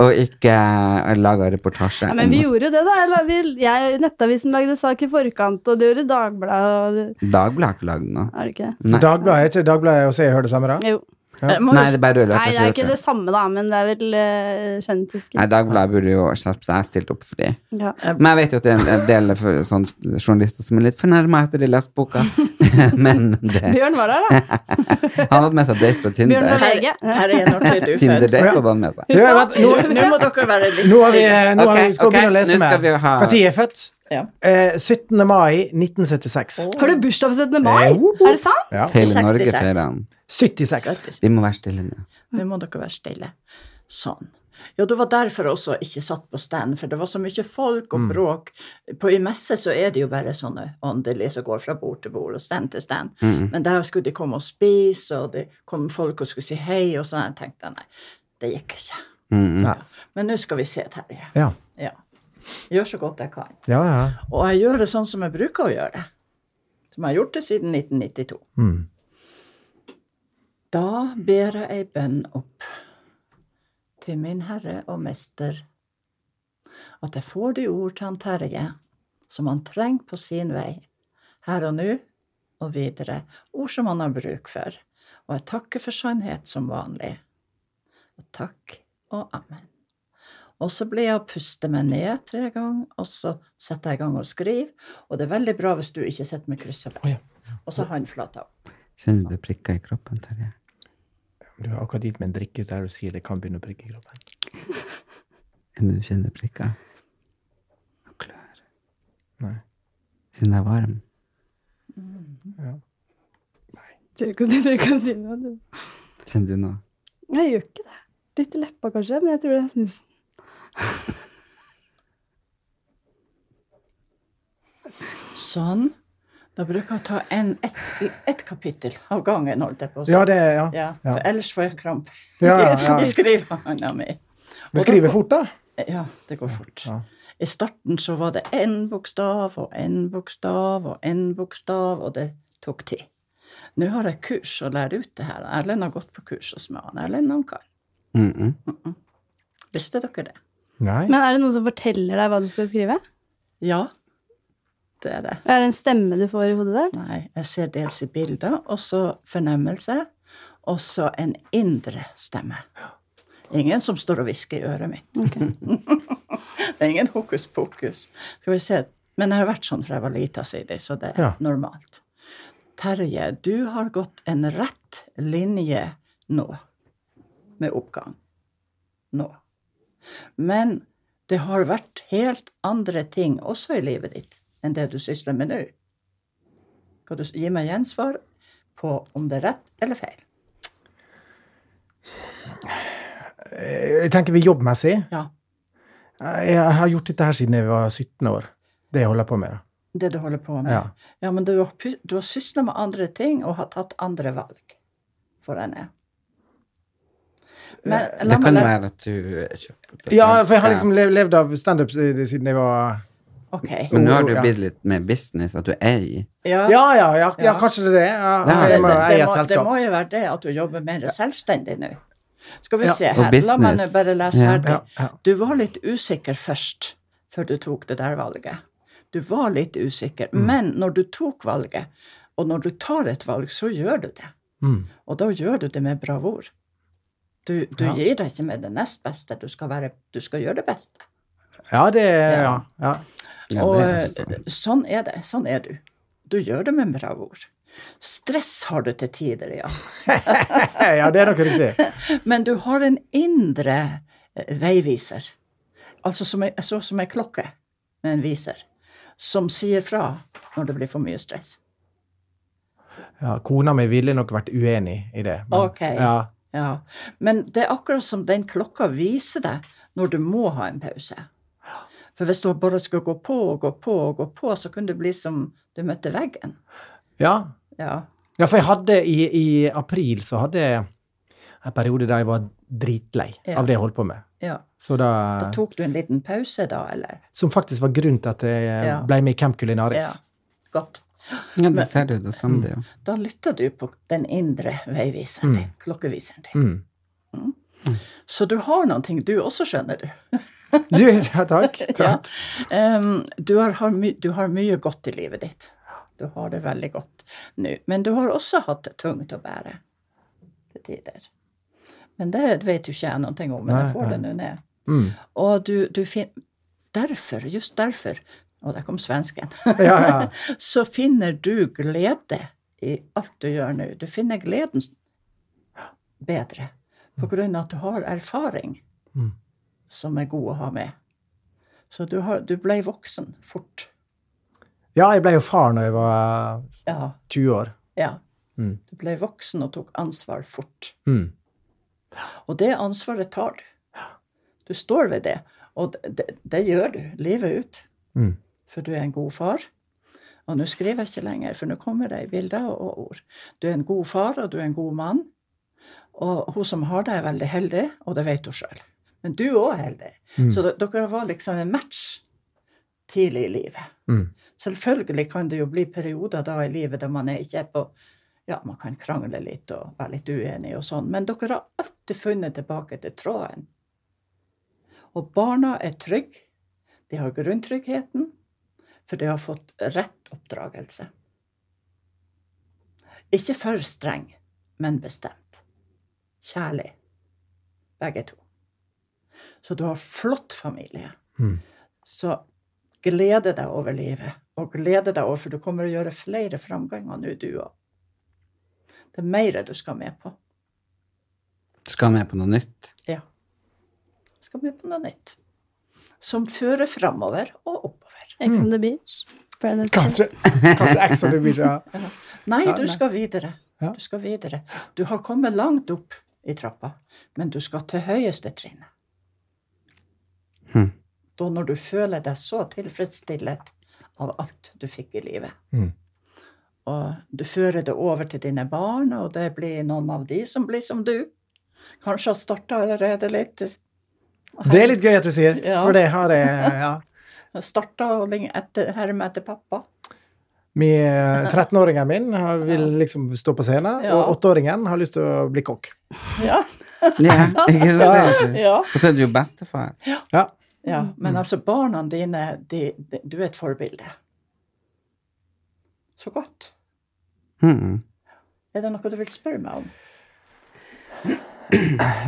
og ikke uh, laga reportasje. Ja, men vi om gjorde jo det, da. Jeg, la- vi- jeg, nettavisen lagde sak i forkant, og det gjorde Dagbladet. og det- Dagbladet har ikke lagd noe. Er det ikke det? Nei. Dagbladet er ikke Dagbladet og Se og Hør det samme, da? Jo. Jeg må jo Nei, det er bare røde Nei, det er ikke løper. det samme, da, men det er vel uh, kjendisfiske. Nei, Dagbladet burde jo skjerpe seg. Jeg stilte opp for dem. Ja. Men jeg vet jo at det er en- en del for- sånn, journalister som er litt fornærma etter de leste boka. men det, Bjørn var der, da. han hadde med seg date fra Tinder. Bjørn var Terje- VG. Terje, når ble du født? Tinder-date hadde han med seg. Du, vent, nå, Nå må dere være litt nå har vi, stille. nå Ok, har vi ok, skal begynne å lese nå skal mer. vi jo ha- Når er jeg født? Ja. Eh, 17. mai 1976. Har du bursdag på 17. mai? Eh, woop, Er det sant? Ja. Hele 66. Norge feirer han. 76. Vi må være stille nå. Nå må dere være stille. Sånn. Ja, det var derfor også jeg ikke satt på stand, for det var så mye folk og bråk. På I messe så er det jo bare sånne åndelige som går fra bord til bord og stand til stand. Men der skulle de komme og spise, og det kom folk og skulle si hei, og sånn. Jeg tenkte nei, det gikk ikke. Mm, Nei. Men nå skal vi se, Terje. Ja. Ja. Gjør så godt jeg kan. Ja, ja. Og jeg gjør det sånn som jeg bruker å gjøre det. Som jeg har gjort det siden 1992. Mm. Da ber jeg ei bønn opp til min Herre og Mester, at jeg får de ord til han Terje som han trenger på sin vei, her og nå og videre, ord som han har bruk for, og jeg takker for sannhet som vanlig. Og takk og amen. Og så blir jeg å puste meg ned tre ganger, og så setter jeg i gang og skriver, og det er veldig bra hvis du ikke sitter med krysset der, og så håndflata opp. Kjenner du det prikker i kroppen, Terje? Du er akkurat dit med en drikke der du sier det kan begynne å prikke i kroppen. Ja, Men du kjenner det prikker? Og klør. Nei. Kjenner deg varm? Tør ikke å si- tør ikke å si noe. du. Kjenner du noe? Jeg gjør ikke det. Litt i leppa, kanskje, men jeg tror det er snusen. Sånn. Da bruker jeg å ta en, et, et kapittel av gangen, holdt jeg på å si. Ja, det ja. Ja, for ellers får jeg kramp. Ja, ja, ja. Jeg skriver hånda mi. Du skriver fort, da. Ja, det går fort. Ja. I starten så var det én bokstav og én bokstav og én bokstav, og det tok tid. Nå har jeg kurs og lærer ut det her. Erlend har gått på kurs hos meg. Han Erlend han kan. Mm -mm. Visste dere det? Nei. Men er det noen som forteller deg hva du skal skrive? Ja, det er det. Er det en stemme du får i hodet der? Nei, jeg ser dels i bilder, og så fornemmelse, og så en indre stemme. Ingen som står og hvisker i øret mitt. det er ingen hokus pokus. Skal vi se. Men jeg har vært sånn fra jeg var lita, sier de, så det er Ja. normalt. Terje, du har gått en rett linje nå, med oppgang. Nå. Men det har vært helt andre ting også i livet ditt enn det du sysler med nå. Kan du gi meg gjensvar på om det er rett eller feil? Jeg tenker vi jobbmessig. Ja. Jeg har gjort dette her siden jeg var 17 år. Det jeg holder på med. da. Det du holder på med? Ja. Ja, men du har, py- du har sysla med andre ting og har tatt andre valg for henne. Men, la Det meg kan le- være at du eh, kjøper det Ja, for jeg har svenske. liksom lev- levd av standup eh, siden jeg var Ok. Men nå har Jo, du ja. blitt litt mer business, at du er i Ja, Ja, ja, ja, ja Ja. kanskje det er det. Ja, Ja, at det, jeg må det, eie det, et må, det selskap. må jo være det at du jobber mer selvstendig nå. Skal vi Ja. se Og her, la meg nå business. bare lese Ja. ferdig. Ja, ja. Du var litt usikker først, før du tok det der valget. Du var litt usikker, Mm. men når du tok valget, og når du tar et valg, så gjør du det. Mm. Og da gjør du det med bravur. Du, du Ja. gir deg ikke med det nest beste, du skal, være, du skal gjøre det beste. Ja, det er ja. Ja. ja. ja, og det er også- eh, sånn er det. Sånn er du. Du gjør det med bravur. Stress har du til tider, ja. ja, det er nok riktig. Men du har en indre eh, veiviser, altså som ei- så som ei klokke med en viser, som sier fra når det blir for mye stress. Ja, kona mi ville nok vært uenig i det. men- Ok. Ja. Ja. Men det er akkurat som den klokka viser deg når du må ha en pause. For hvis du bare skulle gå på og gå på og gå på, så kunne det bli som du møtte veggen. ja. Ja. Ja, for jeg hadde i, i april så hadde jeg en periode der jeg var dritlei Ja. av det jeg holdt på med. ja. Så da, Da tok du en liten pause, da, eller? som faktisk var grunnen til at jeg Ja. ble med i Camp Ja. Culinaris. Godt. Ja, det ser du, det stemmer det jo. Da lytter du på den indre veiviseren din, klokkeviseren din. Mm. Så du har noen ting, du også, skjønner du. Du, ja, takk. takk. Em, du, har, har my, du har mye godt i livet ditt. Du har det veldig godt nå. Men du har også hatt det tungt å bære til tider. Men det vet jo ikke jeg noe om, men Nei, jeg får det nei. nå ned. Mm. Og du, du fin Derfor, just derfor Og der kom svensken. Ja, ja. Så finner du glede i alt du gjør nå. Du finner gleden bedre på grunn av at du har erfaring Mm. som er god å ha med. Så du, har, du ble voksen fort. ja, jeg ble jo far når jeg var Ja. 20 år. ja. Mm. Du ble voksen og tok ansvar fort. Mm. Og det ansvaret tar du. Du står ved det. Og det, det, det gjør du livet ut. Mm. For du er en god far. Og nå skriver jeg ikke lenger, for nå kommer det i bilder og ord. Du er en god far, og du er en god mann. Og hun som har deg, er veldig heldig, og det vet hun sjøl. Men du òg er heldig. Mm. Så de- dere var liksom en match tidlig i livet. Mm. Selvfølgelig kan det jo bli perioder da i livet der man er ikke er på Ja, man kan krangle litt og være litt uenig og sånn, men dere har alltid funnet tilbake til tråden. Og barna er trygge. De har grunntryggheten, for de har fått rett oppdragelse. Ikke for streng, men bestemt. Kjærlig. Begge to. Så du har flott familie. Mm. Så glede deg over livet, og glede deg over, for du kommer å gjøre flere framganger nå, du òg. Det er mer du skal med på. Du skal med på noe nytt. Ja. Skal med på noe nytt. Som fører framover og oppover. Ex on the beach. Paradise Hotel. Kanskje, kanskje X on the beach. Ja. Nei, Ja, du nei. skal videre. Ja. Du skal videre. Du har kommet langt opp i trappa, men du skal til høyeste trinnet. Hm. Da når du føler deg så tilfredsstillet av alt du fikk i livet. Mm. Og du fører det over til dine barn, og det blir noen av de som blir som du. Kanskje har starta allerede litt. Det er litt gøy at du sier, Ja. for det har jeg ja. Starta å lenge etter, herme etter pappa. Min, eh, 13-åringen min har- vil liksom stå på scenen, Ja. og 8-åringen har lyst til å bli kokk. Ja. Ja, ikke sant? ja. Og så er du jo bestefar. Ja. Ja, men altså, barna dine de, de, Du er et forbilde. Så godt. Mm. Er det noe du vil spørre meg om?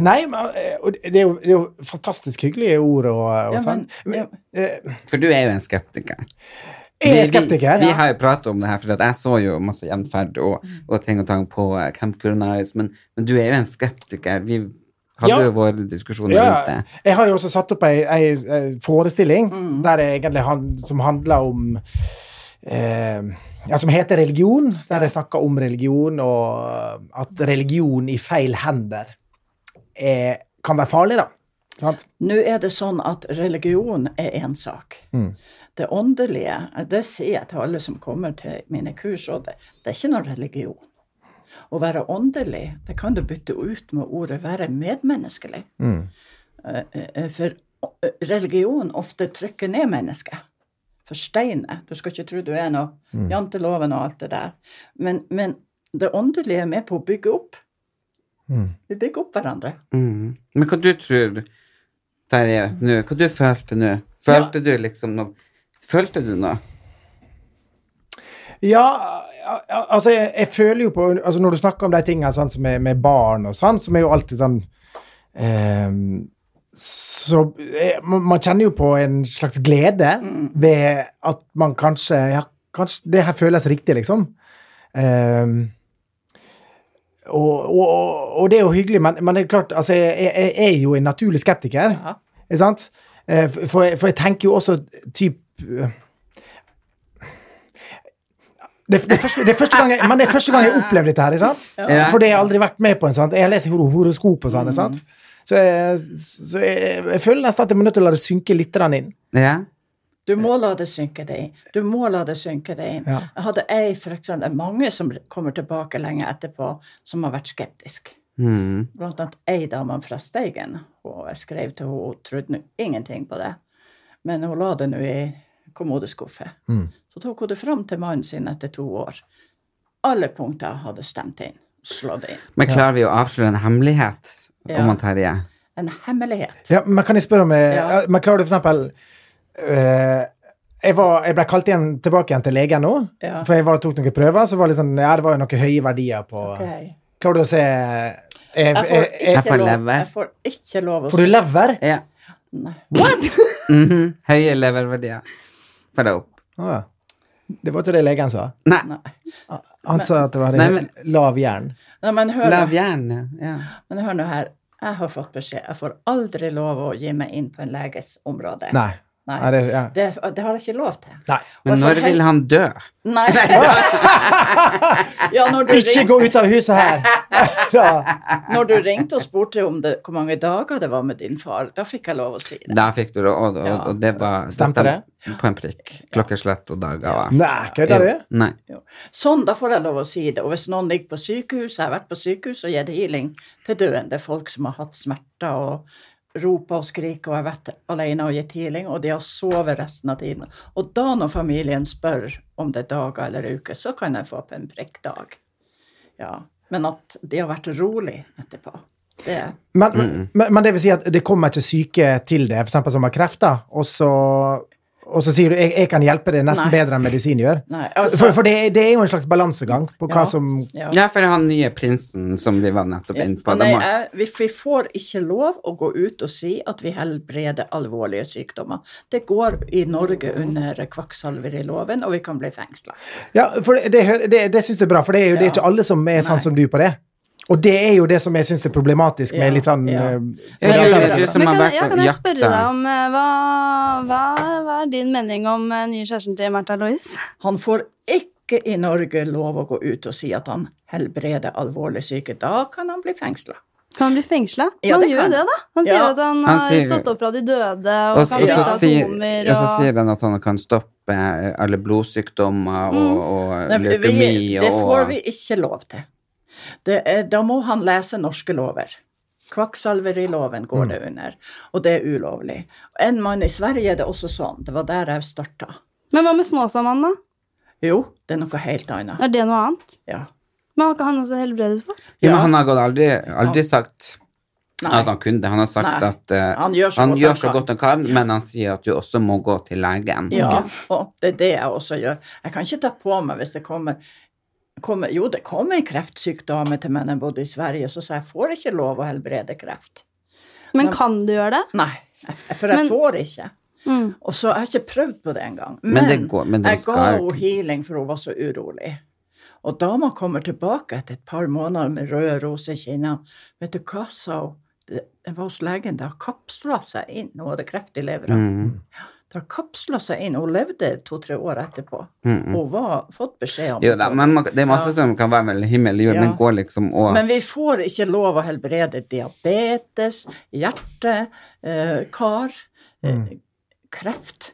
Nei, men eh, og det er jo, det er jo fantastisk hyggelige ord og, og Ja, sånn. men- Men, eh, For du er jo en skeptiker. jeg er Vi, skeptiker. vi, vi ja. Mm. har jo pratet om det her, for at jeg så jo masse gjenferd og, og ting og tang på eh, Camp Culinaris, men, men du er jo en skeptiker. Vi hadde Ja. jo våre diskusjoner rundt Ja, det. jeg har jo også satt opp ei, ei eh, forestilling Mm. der jeg egentlig han, som handler om eh, ja, Som heter religion, der jeg snakker om religion, og at religion i feil hender er, kan være farlig, da. Sant? Nå er det sånn at religion er én sak. Mm. Det åndelige, det sier jeg til alle som kommer til mine kurs, og det, det er ikke noe religion. Å være åndelig, det kan du bytte ut med ordet være medmenneskelig. Mm. Eh, eh, For eh, religion ofte trykker ned mennesket. Forsteiner. Du skal ikke tro du er noe. Mm. Janteloven og alt det der. Men, men det åndelige er med på å bygge opp. Mm. Vi bygger opp hverandre. Mm. Men hva du tror Terje, nå, hva du følte nå? Følte du liksom noe Følte du noe? Ja, al- al- altså jeg, jeg føler jo på altså Når du snakker om de tingene sånn, som er med barn og sånn, som er jo alltid sånn ehm, Så eh, man, man kjenner jo på en slags glede Mm. ved at man kanskje Ja, kanskje det her føles riktig, liksom. Ehm, og, og, og- og det er jo hyggelig, men, men det er klart, altså, jeg, jeg, jeg er jo en naturlig skeptiker. Ja. Ikke sant? Eh, For, for jeg- for jeg tenker jo også typ eh, det, det, er første, det, er første gang jeg, men det er første gang jeg opplever dette her, ikke sant? Ja. For det har jeg aldri vært med på. Ikke sant? Jeg leser horo- horoskop og sånn. Ikke sant? Så, jeg, så jeg, jeg føler nesten at jeg må nødt til å la det synke litt grann inn. Ja? Du må la det synke deg inn. Du må la det synke deg inn. Ja. Jeg hadde ei, for eksempel, mange som kommer tilbake lenge etterpå, som har vært skeptisk. Mm. Blant annet ei dame fra Steigen. Og jeg skrev til henne, hun trodde nå ingenting på det. Men hun la det nå i kommodeskuffe. Mm. Så tok hun det fram til mannen sin etter to år. Alle punkter hadde stemt inn. Slått inn. Men klarer vi å avsløre en hemmelighet Ja. om han Terje? En hemmelighet. Ja, men kan jeg spørre om jeg, Ja. Men klarer du for eksempel eh, jeg, var, jeg ble kalt igjen, tilbake igjen til legen nå, Ja. for jeg var, tok noen prøver. Så var det liksom, ja, det var jo noen høye verdier på Ok. Klarer du å se eh, jeg, jeg, får jeg, Jeg får ikke lov, lever. jeg får ikke lov å Får du lever? Ja. Nei. Mhm. Høye leververdier. Får det opp. Å, ja. Det var ikke det legen sa. Nei, Nei. Han sa at det var Nei, men- lav jern. Nei, men hør lav nå. hjerne. Ja. Men hør nå her, jeg har fått beskjed. Jeg får aldri lov å gi meg inn på en leges område. Nei. Nei. Nei, det, ja. Det, det har jeg ikke lov til. Nei. Men Hvorfor når vil han dø? Nei. ja, når du, Ikke ring, gå ut av huset her! Ja. når du ringte og spurte om det, hvor mange dager det var med din far, da fikk jeg lov å si det. Da fikk du det, og, og, Ja. og det var Stemte det? stemte På en prikk. Klokkeslett og dager. Nei, kødder du? Nei. Jo. Sånn, da får jeg lov å si det. Og hvis noen ligger på sykehus, jeg har vært på sykehus og gitt healing til døende folk som har hatt smerter og roper og skriker og har vært alene og gitt healing, og de har sovet resten av tiden. Og da når familien spør om det er dager eller uker, så kan jeg få opp en prikkdag. Ja. Men at de har vært rolig etterpå, det Men, men, men det vil si at det kommer ikke syke til det, f.eks. som har kreft, da, og så og så sier du jeg, jeg kan hjelpe deg nesten Nei. bedre enn medisin gjør. Nei, altså- for for det, det er jo en slags balansegang på hva Ja. som ja. Ja, for han nye prinsen som vi var nettopp inne på. Ja, de Nei, har- jeg, vi, vi får ikke lov å gå ut og si at vi helbreder alvorlige sykdommer. Det går i Norge under kvakksalveriloven, og vi kan bli fengsla. Ja, for det, det, hø- det, det syns jeg er bra, for det er jo det er Ja. ikke alle som er sånn Nei. som du på det. Og det er jo det som jeg syns er problematisk med Ja, litt sånn ja. eh, Ja, hvordan- Julie, du som Men har kan, vært ja, på kan jeg jakt, spørre da. deg om eh, hva, hva, hva er din mening om eh, nye kjæresten til Märtha Louise? Han får ikke i Norge lov å gå ut og si at han helbreder alvorlig syke. Da kan han bli fengsla. Kan han bli fengsla? Ja, han det gjør jo kan. det, da. Han sier Ja. jo at han, Han har sier- stått opp fra de døde og, Og, så- kan og, bryte så sier, atomer og så og sier han at han kan stoppe eh, alle blodsykdommer Mm. og, og leukemi Det og får vi ikke lov til. Det er, da må han lese norske lover. Kvakksalveriloven Mm. går det under, og det er ulovlig. En mann i Sverige er det også sånn. Det var der jeg starta. Men hva med Snåsamannen, da? Jo, det er noe helt annet. Er det noe annet? Ja. Men har ikke han også helbredet for? ja, men Han har gått aldri, aldri sagt Nei. at han kunne det. Han har sagt Nei. at eh, Han gjør så godt gjør han så kan. godt han kan, men han sier at du også må gå til legen. ja. Og det er det jeg også gjør. Jeg kan ikke ta på meg hvis det kommer, kommer Jo, det kom en kreftsyk dame til meg da jeg bodde i Sverige, så sa jeg får ikke lov å helbrede kreft. Men kan du gjøre det? Nei, jeg, for jeg Men- får ikke. Mm. Og så jeg har ikke prøvd på det engang. Men, Men det går- men det jeg skal ga jo henne ikke. healing, for hun var så urolig. Og da man kommer tilbake etter et par måneder med røde roser i kinnene Vet du hva, sa hun? Det jeg var hos legen. Det har kapsla seg inn. Hun hadde kreft i levra. Mm. Det har kapsla seg inn. Hun levde to-tre år etterpå. Mm, mm. Hun var fått beskjed om Jo da, men man- det er masse Ja. som kan være mellom himmel og jord, Ja. men går liksom og Men vi får ikke lov å helbrede diabetes, hjerte, eh, kar, eh, kreft.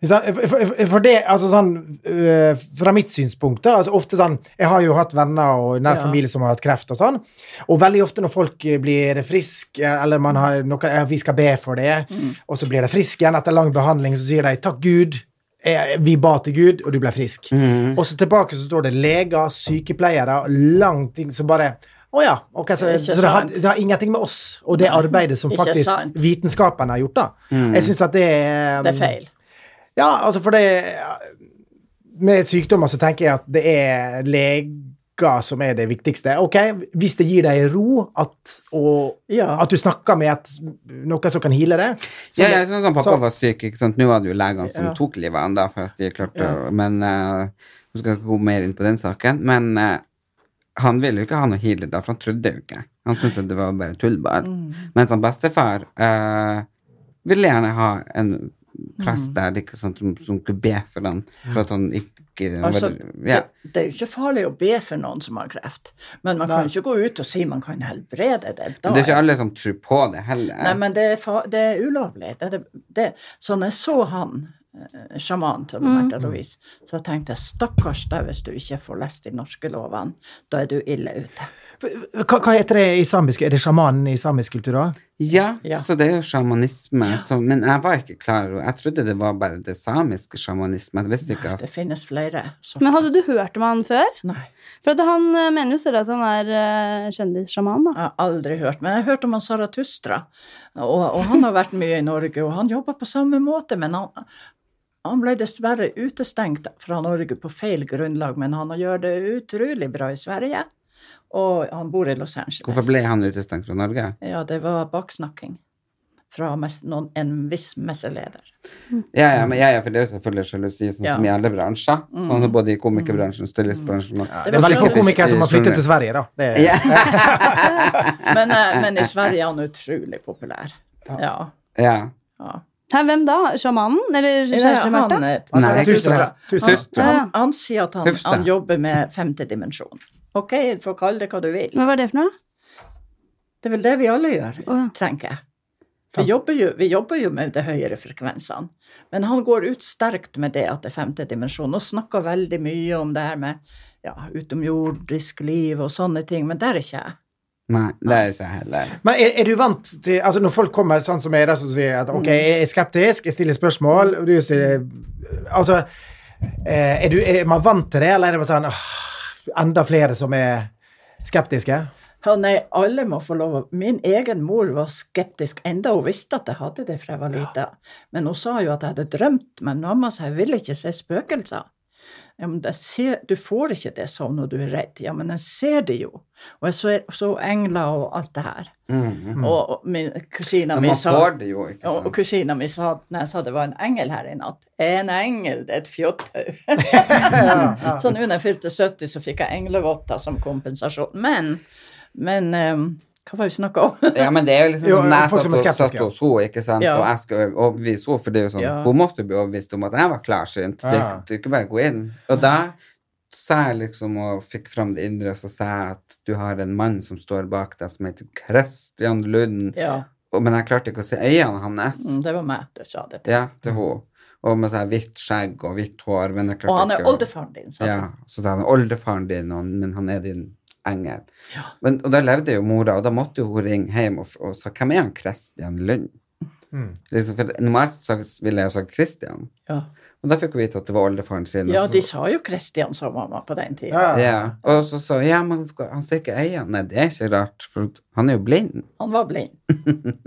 Ikke sant? For, for- for det, altså sånn øh, Fra mitt synspunkt, da altså ofte sånn, Jeg har jo hatt venner og nær Ja. familie som har hatt kreft og sånn. Og veldig ofte når folk eh, blir friske, eller man har noe ja, Vi skal be for det, Mm. og så blir de friske igjen etter lang behandling, så sier de 'Takk, Gud'. eh, Vi ba til Gud, og du ble frisk. Mm. Og så tilbake så står det leger, sykepleiere, langt ting som bare Å ja. ok, så, Ikke så det, har, sant. det har ingenting med oss og det arbeidet som Ikke faktisk sant. Mm. vitenskapen har gjort, da. Jeg syns at det er Det er feil. ja, altså for det Med sykdommer så tenker jeg at det er leger som er det viktigste. Ok, Hvis det gir deg ro at, og, Ja. at du snakker med at noen som kan heale deg så Ja, det- jeg synes han pappa så- var syk, ikke sant. Nå var det jo legene som Ja. tok livet av han da, for at de klarte å Men eh, vi skal ikke gå mer inn på den saken. Men eh, han ville jo ikke ha noe healer da, for han trodde jo ikke. Han syntes at det var bare tull, bare. Mm. Mens han bestefar eh, ville gjerne ha en Mm. prest der ikke sant, som, som kunne be for han, for at han ikke Altså, var, ja. det, det er jo ikke farlig å be for noen som har kreft, men man kan jo ikke gå ut og si man kan helbrede det. Da Men Det er ikke alle som tror på det heller. Nei, men det er, fa det er ulovlig. Det, det, det. Så når jeg så han, eh, sjaman til Mm. Märtha Louise, så tenkte jeg stakkars deg hvis du ikke får lest de norske lovene. Da er du ille ute. hva, hva heter det i samisk? Er det sjamanen i samisk kultur òg? Ja, Ja. så det er jo sjamanisme. som- men jeg var ikke klar over Jeg trodde det var bare det samiske sjamanisme. Jeg visste ikke at Det finnes flere. Så. Men hadde du hørt om han før? Nei, For at han eh, mener jo selv at han er eh, kjendissjaman, da. jeg har aldri hørt. Men jeg har hørt om han Saratustra, og, og han har vært mye i Norge, og han jobber på samme måte, men han, han ble dessverre utestengt fra Norge på feil grunnlag, men han gjør det utrolig bra i Sverige, og han bor i Los Angeles. Hvorfor ble han utestengt fra Norge? Ja, det var baksnakking fra mes- noen, en viss messeleder. Ja, ja, men ja, ja, for det er jo selvfølgelig sjalusi, sånn Ja. Mm. som i alle bransjer. Sånn både i komikerbransjen og stylistbransjen. og- Det er veldig få komikere som har flyttet til Sverige, da. Det er, eh, Ja, Men, eh, men i Sverige er han utrolig populær. Ja. ja. ja. Hæ, hvem da? Sjamanen? Eller kjæresten han, Märtha? eh, Nei, han- Tustra. Tustra. Tustra. han, han sier at han, Hufsa. han jobber med femte dimensjon. Ok, du får kalle det hva du vil. Hva var det for noe? Det er vel det vi alle gjør, Å, ja. tenker jeg. Vi jobber, jo, vi jobber jo med de høyere frekvensene. Men han går ut sterkt med det at det er femte dimensjon, og snakker veldig mye om det her med ja, utomjordisk liv og sånne ting, men der er ikke jeg. Nei, det er ikke jeg heller. Men er, er du vant til altså Når folk kommer sånn som jeg er, som sier at OK, jeg er skeptisk, jeg stiller spørsmål og du stiller, Altså, eh, er, du, er man vant til det, eller er det bare sånn åh, Enda flere som er skeptiske? Ja, nei, alle må få lov å Min egen mor var skeptisk, enda hun visste at jeg hadde det fra jeg var lita. Men hun sa jo at jeg hadde drømt, men mamma sa jeg ville ikke se spøkelser. Ja, men jeg ser, du får ikke det sånn når du er redd. Ja, men jeg ser det jo. Og jeg så, så engler og alt det her. Og, og min kusina Mm. Men mi man sa får det jo, ikke Ja, Og sant. kusina mi sa når jeg sa det var en engel her i natt En engel, det er et Sånn, fjottau. så nå når jeg fylte 70, så fikk jeg englevotter som kompensasjon. Men, men ehm, Hva var det vi snakka om? Ja, men det er jo liksom Jo, sånn jeg folk som satt er og- skeptiske, satt hos henne, ikke sant, Ja. og jeg skal overbevise henne, for det er jo sånn, Ja. hun måtte jo bli overbevist om at jeg var klarsynt. Det, Ja. det er ikke bare å gå inn. Og da sa jeg liksom, og fikk fram det indre, og så sa jeg at du har en mann som står bak deg som heter Kristian Lund, ja, og, men jeg klarte ikke å se øynene hans. mm, det var meg du sa det til. Ja, til hun. Og med sånn hvitt skjegg og hvitt hår. Men jeg klarte Og han er ikke å- oldefaren din, sa Ja, du. så sa han oldefaren din, og, men han er din engel. Men, og da levde jo mora, og da måtte jo hun ringe hjem og, f- og sa hvem er han Christian Lund? Liksom, for Normalt så ville jeg jo sagt Christian, Ja. og da fikk hun vite at det var oldefaren sin. og ja, så- de sa jo Kristian sa mamma på den tida. Ja. ja. Og så sa ja, men hva- han ser ikke øynene. Nei, det er ikke rart, for han er jo blind. Han var blind.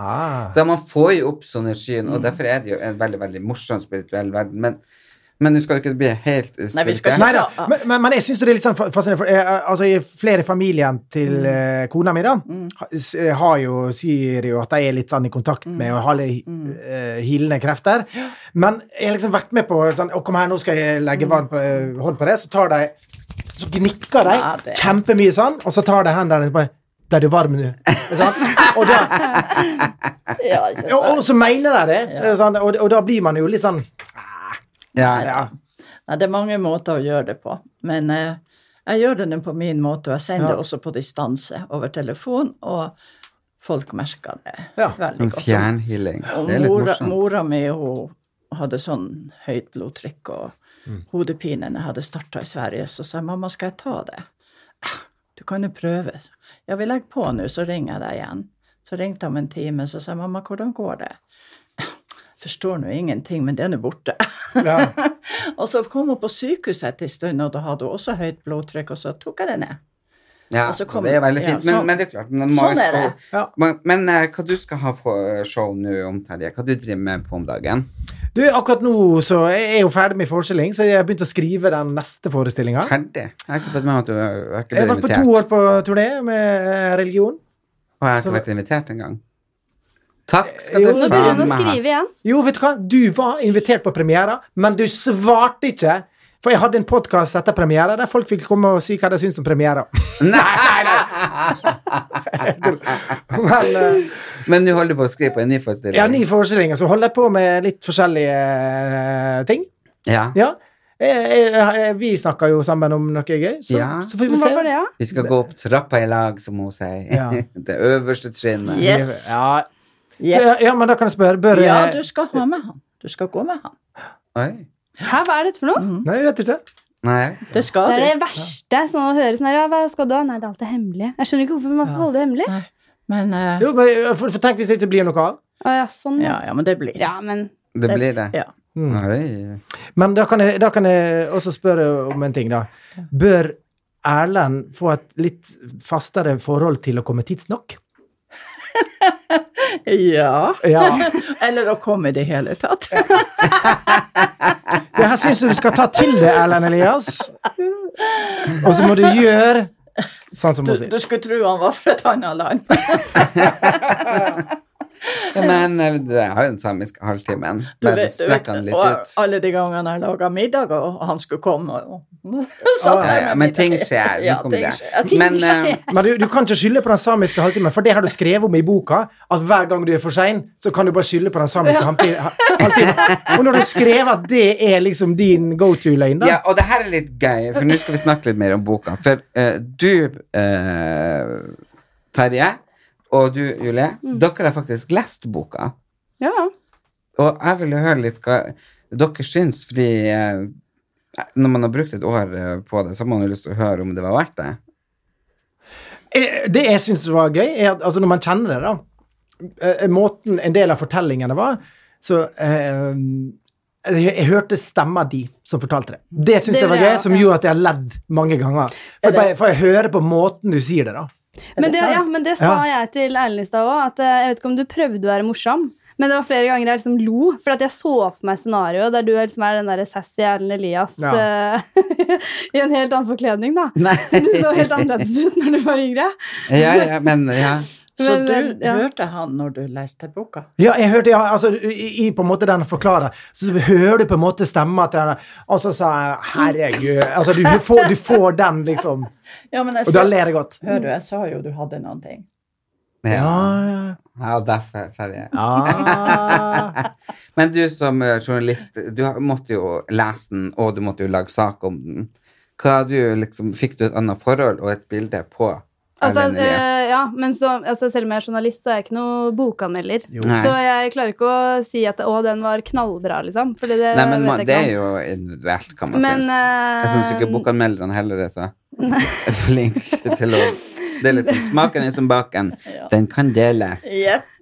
Ah. Så man får jo opp sånne skyen, Mm. og derfor er det jo en veldig veldig morsom spirituell verden. Men, men du skal ikke bli helt Nei, vi skal spirituell. ikke- Nei da, men, men, men jeg syns det er litt sånn fa- fascinerende. For, eh, altså, i flere i familien til Mm. eh, kona mi da, ha- s- eh, har jo, sier jo at de er litt sånn i kontakt Mm. med og har litt eh, hilende krefter. Men jeg har liksom vært med på sånn Å, kom her, nå skal jeg legge Mm. vann på, eh, hånd på det. Så tar de Så gnikker de Ja, det- kjempemye sånn, og så tar de hendene og bare Ble du varm nå? Ikke sant? Og da, Ja, ikke og, og sant? så mener de det. det er sånn, og, og da blir man jo litt sånn Ja, ja. Nei, det er mange måter å gjøre det på. Men eh, jeg gjør det nå på min måte, og jeg sender det også på distanse over telefon, og folk merker det Ja. veldig en godt. fjernhealing. Og Det er litt mora, morsomt. mora mi hun hadde sånn høyt blodtrykk og Mm. hodepinen jeg hadde starta i Sverige, så sa jeg mamma, skal jeg ta det? «Ah, Du kan jo prøve. Ja, vi legger på nå, så ringer jeg deg igjen. Så ringte han om en time, så sa jeg mamma, hvordan går det? Ah, Forstår nå ingenting, men det er nå borte. Ja. og så kom hun på sykehuset etter en stund, og da hadde hun også høyt blodtrykk, og så tok jeg det ned. Ja, Og så så kom- det er veldig fint. Men, ja, så- men det er klart, man må Sånn jo er stå det. Ja. Men, men eh, hva du skal ha for eh, show nå om Terje? Hva du driver med på om dagen? Du, akkurat nå så jeg er jeg jo ferdig med forestilling, så jeg har begynt å skrive den neste forestillinga. Terje? Jeg har ikke fått med meg at du har har ikke Jeg har blitt vært på to invitert. år på turné med eh, religion. Og jeg har så- ikke vært invitert engang. Takk skal Jo, du Nå begynner hun å skrive igjen. Jo, vet du hva? Du var invitert på premiere, men du svarte ikke. For jeg hadde en podkast etter premiere der folk fikk komme og si hva de syns om premiere. Nei, nei, Men eh, nei. Men du holder på å skrive på en ny forestilling? jeg har ni forestillinger, så holder jeg på med litt forskjellige eh, ting. Ja. Ja. Eh, Jeg, jeg, jeg, vi snakka jo sammen om noe gøy, så, Ja. så får vi Hva se. var det, da? Vi skal gå opp trappa i lag, som hun sier. Ja. Det øverste trinnet. Yes. Ja. Ja. Så, ja, men da kan jeg spørre Bør ja, jeg du skal ha med han. Du skal gå med han. Oi. Hæ, hva er dette for noe? Nei, jeg vet ikke. Nei. Det Det skal er du. det verste. Sånn å høre sånn her, ja, hva skal du ha? Nei, det er alt det hemmelige. Jeg skjønner ikke hvorfor man skal Ja. holde det hemmelig. Men, eh, Jo, men, eh, for, for tenk hvis det ikke blir noe av. Å ja, sånn. Ja, ja, ja, men det blir ja men Det blir det. Ja. Mm. Oi. Men da kan, jeg, da kan jeg også spørre om en ting, da. Bør Erlend få et litt fastere forhold til å komme tidsnok? Ja. Ja. Eller å komme i det hele tatt. Det her syns jeg du skal ta til deg, Erlend Elias. Og så må du gjøre sånn som Du, hun sier. du skulle tro han var fra et annet land. Ja, men eh, det er jo den samiske halvtimen. Du Bare vet- du vet, strekk han litt og ut. alle de gangene jeg laga middag, og han skulle komme og, og ja, ja, satt jeg med men middag. ting skjer. Ja, Nå kom ting det. skjer. Ting Men, skjer. eh, Men du, du kan ikke skylde på den samiske halvtimen, for det har du skrevet om i boka. At hver gang du er for sein, så kan du bare skylde på den samiske halvti- ha- halvtimen. Og når du skrev at det er liksom din go to-løgn, da Ja, og det her er litt gøy, for nå skal vi snakke litt mer om boka. For eh, du, eh, Terje, og du, Julie, Mm. dere har faktisk lest boka. ja. Og jeg ville høre litt hva dere syns, fordi eh, når man har brukt et år eh, på det, så har man jo lyst til å høre om det var verdt det. Eh, Det jeg syns var gøy, er at altså når man kjenner det, da eh, Måten en del av fortellingene var, så eh, jeg, jeg hørte stemma di som fortalte det. Det syns Det jeg var vil jeg gøy, også, som ja. gjorde at jeg har ledd mange ganger. For, det- bare, for jeg hører på måten du sier det, da. Men, det, sant? ja, men det sa jeg til Erlend i stad òg, at eh, jeg vet ikke om du prøvde å være morsom. Men det var flere ganger jeg liksom lo, for at jeg så for meg scenarioet der du er liksom er den der sassy Erlend Elias Ja. eh, i en helt annen forkledning, da. Nei. Du så helt annerledes ut når du var yngre. Ja, ja, men ja. Så Men, du ja. hørte han når du leste boka? Ja, jeg hørte, ja, altså, i, i på en måte den forklarer, så hører du på en måte stemma til henne, og så sa jeg, herregud, altså, du, får, du får den, liksom. Ja, men jeg, Og da sa- ler jeg godt. hør du, jeg sa jo du hadde noen ting. Ja, ja og derfor, Terje. Ah. Men du som eh, journalist, du har- måtte jo lese den, og du måtte jo lage sak om den. Hva du liksom, Fikk du et annet forhold og et bilde på Altså, Erlend Elias? eh, ja, men så, altså, selv om jeg er journalist, så er jeg ikke noe bokanmelder. Nei. Så jeg klarer ikke å si at 'å, den var knallbra', liksom. Fordi det Nei, men vet man, jeg det er ikke om. jo individuelt, kan man Men, synes. Jeg syns ikke eh, bokanmelderne heller er så flinke til å Det er liksom smaken er som baken. Den kan deles.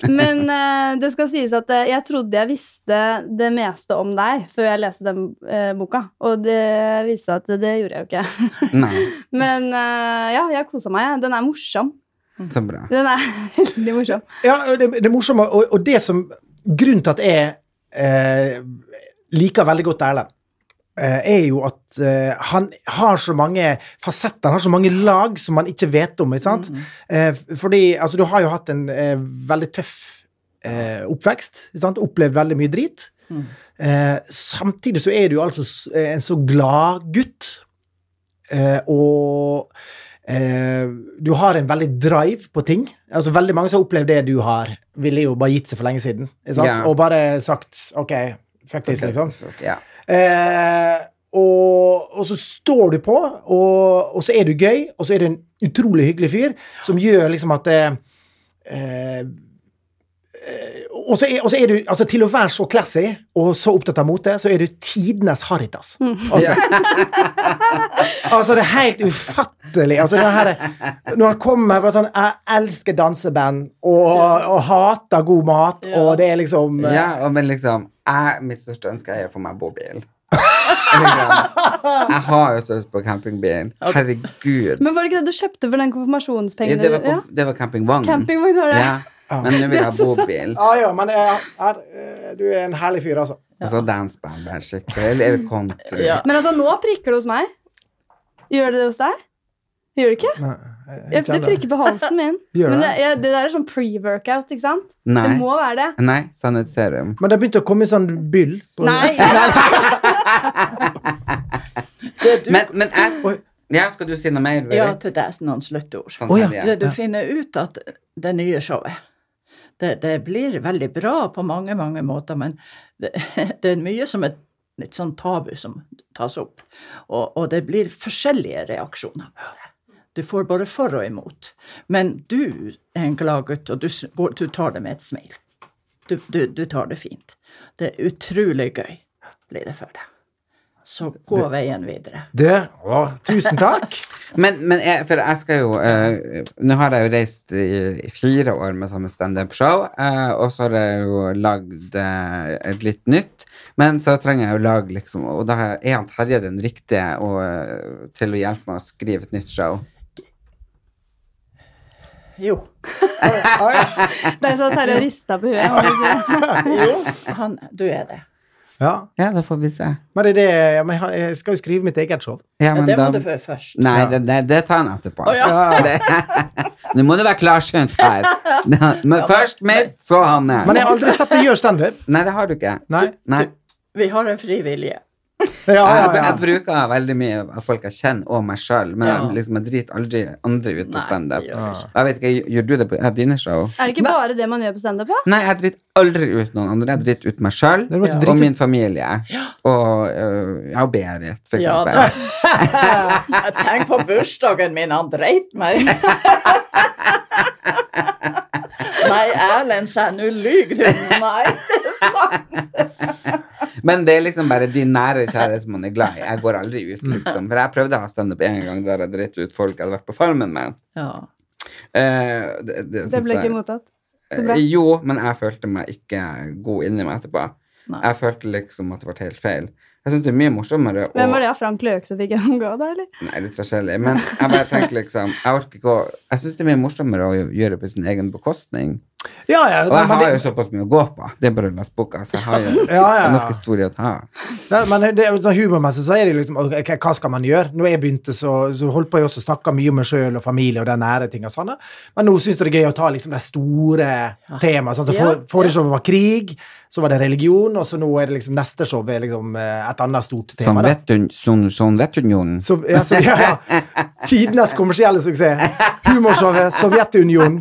Men eh, det skal sies at eh, jeg trodde jeg visste det meste om deg før jeg leste den eh, boka, og det viste seg at det gjorde jeg jo ikke. Nei, Men eh, ja, jeg kosa meg. jeg. Den er morsom. så bra. Den er veldig morsom. Ja, og det, det morsomme, og, og det som, grunnen til at jeg eh, liker veldig godt Erlend, eh, er jo at eh, han har så mange fasetter, han har så mange lag som man ikke vet om, ikke sant? Eh, f- fordi, altså, du har jo hatt en eh, veldig tøff eh, oppvekst, ikke sant? Opplevd veldig mye drit. Eh, samtidig så er du jo altså s- eh, en så glad gutt, eh, og eh, du har en veldig drive på ting. Altså Veldig mange som har opplevd det du har, ville jo bare gitt seg for lenge siden. Ikke sant? Ja. Og bare sagt OK, fuck this, liksom. Ja. Eh, og, og så står du på, og, og så er du gøy, og så er du en utrolig hyggelig fyr som gjør liksom at det, eh, eh, Og så er, og så er du, altså Til å være så classy og så opptatt av mote, så er du tidenes Haritas. Altså, altså, det er helt ufattelig. Altså, det her, er- når han kommer bare sånn Jeg elsker danseband og, og hater god mat, og det er liksom eh, Ja, og men liksom jeg, Mitt største ønske er å få meg bobil. liksom, jeg har jo så lyst på campingbil. Herregud. Men var det ikke det du kjøpte for den Ja, konfirmasjonspengene? det var, du- ja? på, det var campingvogn. Campingvogn var det. Ja. Men nå vil jeg ha bobil. Ja, ja, men eh, her, eh, du er en herlig fyr, altså. Og så danceband. det er skikkelig. Eller er det country? Ja. Men altså, nå prikker det hos meg. Gjør det det hos deg? Gjør det ikke? Nei, Jeg, det prikker på halsen min. Gjør det? Men det, jeg, det der er sånn pre-workout, ikke sant? Nei. Det må være det. Nei, sannhetsserum. Men det begynte å komme sånn byll. på- Nei, Det du, Men, men jeg Oi. ja, Skal du si noe mer? ja, Berit? til deg noen sluttord. Sånn Å, ja. Terje. Det du finner ut at det nye showet det, det blir veldig bra på mange, mange måter, men det, det er mye som er litt sånn tabu som tas opp. Og, og det blir forskjellige reaksjoner på det. Du får både for og imot. Men du er en glad gutt, og du, s- går, du tar det med et smil. Du, du, du tar det fint. Det er utrolig gøy, blir det for deg. Så gå veien videre. Det, å, tusen takk. Men, men jeg, for jeg skal jo eh, Nå har jeg jo reist i, i fire år med samme standup-show, eh, og så har jeg jo lagd eh, et litt nytt. Men så trenger jeg jo lage liksom Og da er han Terje den riktige og, eh, til å hjelpe meg å skrive et nytt show. Jo. det er sånn at Terje rista på huet. jo. Han, du er det. Ja, Ja, da får vi se. men det er det, ja, men jeg har- jeg skal jo skrive mitt eget show. Ja, Ja, men det da- må du få først. Nei, det, det, det tar han etterpå. Å, ja. Det- Nå må du være klarsynt her. Men først mitt, så Men hans. jeg har aldri sett deg gjøre standup. Nei, det har du ikke. Nei. Nei. Vi har en fri vilje. Ja, Jeg, ja, jeg ja. bruker veldig mye av folk jeg kjenner, og meg sjøl, men Ja. jeg, liksom, jeg driter aldri andre ut på Nei, standup. det gjør du ikke. Jeg vet ikke, Gjør du det på ja, dine show? Er det ikke bare det man gjør på standup? da? Nei, jeg driter aldri ut noen andre. Jeg driter ut meg sjøl Du måtte drite og ut- min familie. Og øh, ja, og Berit, for Ja, eksempel. da. Jeg tenker på bursdagen min, han dreit meg. Nei, Erlend sa nå lyver du. Nei, det er sant. Men det er liksom bare de nære og kjære som man er glad i. Jeg går aldri ut, liksom. For jeg prøvde å ha standup en gang der jeg dreit ut folk jeg hadde vært på Farmen med. Ja. Eh, det, Det synes ble jeg- ikke mottatt. Så bra. Eh, Jo, men jeg følte meg ikke god inni meg etterpå. Nei. Jeg følte liksom at det ble helt feil. Jeg syns det er mye morsommere å Hvem var det av Frank Løke som fikk gjennomgå det, eller? Nei, litt forskjellig. Men jeg bare tenker liksom Jeg orker ikke å Jeg syns det er mye morsommere å gjøre det på sin egen bekostning. ja, ja Og jeg men, har jo det, såpass mye å gå på. Det er bare å lese boka, så jeg har jo Ja, ja, ja. nok historie å ta. ja, men det, er jo sånn humormessig så er det liksom ok, ok, Hva skal man gjøre? Når jeg begynte, så, så holdt på jeg også å snakke mye om meg sjøl og familie og de nære tingene. og Sånn, da. men nå syns jeg det er gøy å ta liksom de store temaene. Sånn, så Ja, for, forrige show var krig, så var det religion, og så nå er det liksom neste show er liksom eh, et annet stort tema. Sånn da. vet du- sånn- Sånn Vetunionen. Sov- ja, så, ja, ja. Tidenes kommersielle suksess. Humorshowet Sovjetunionen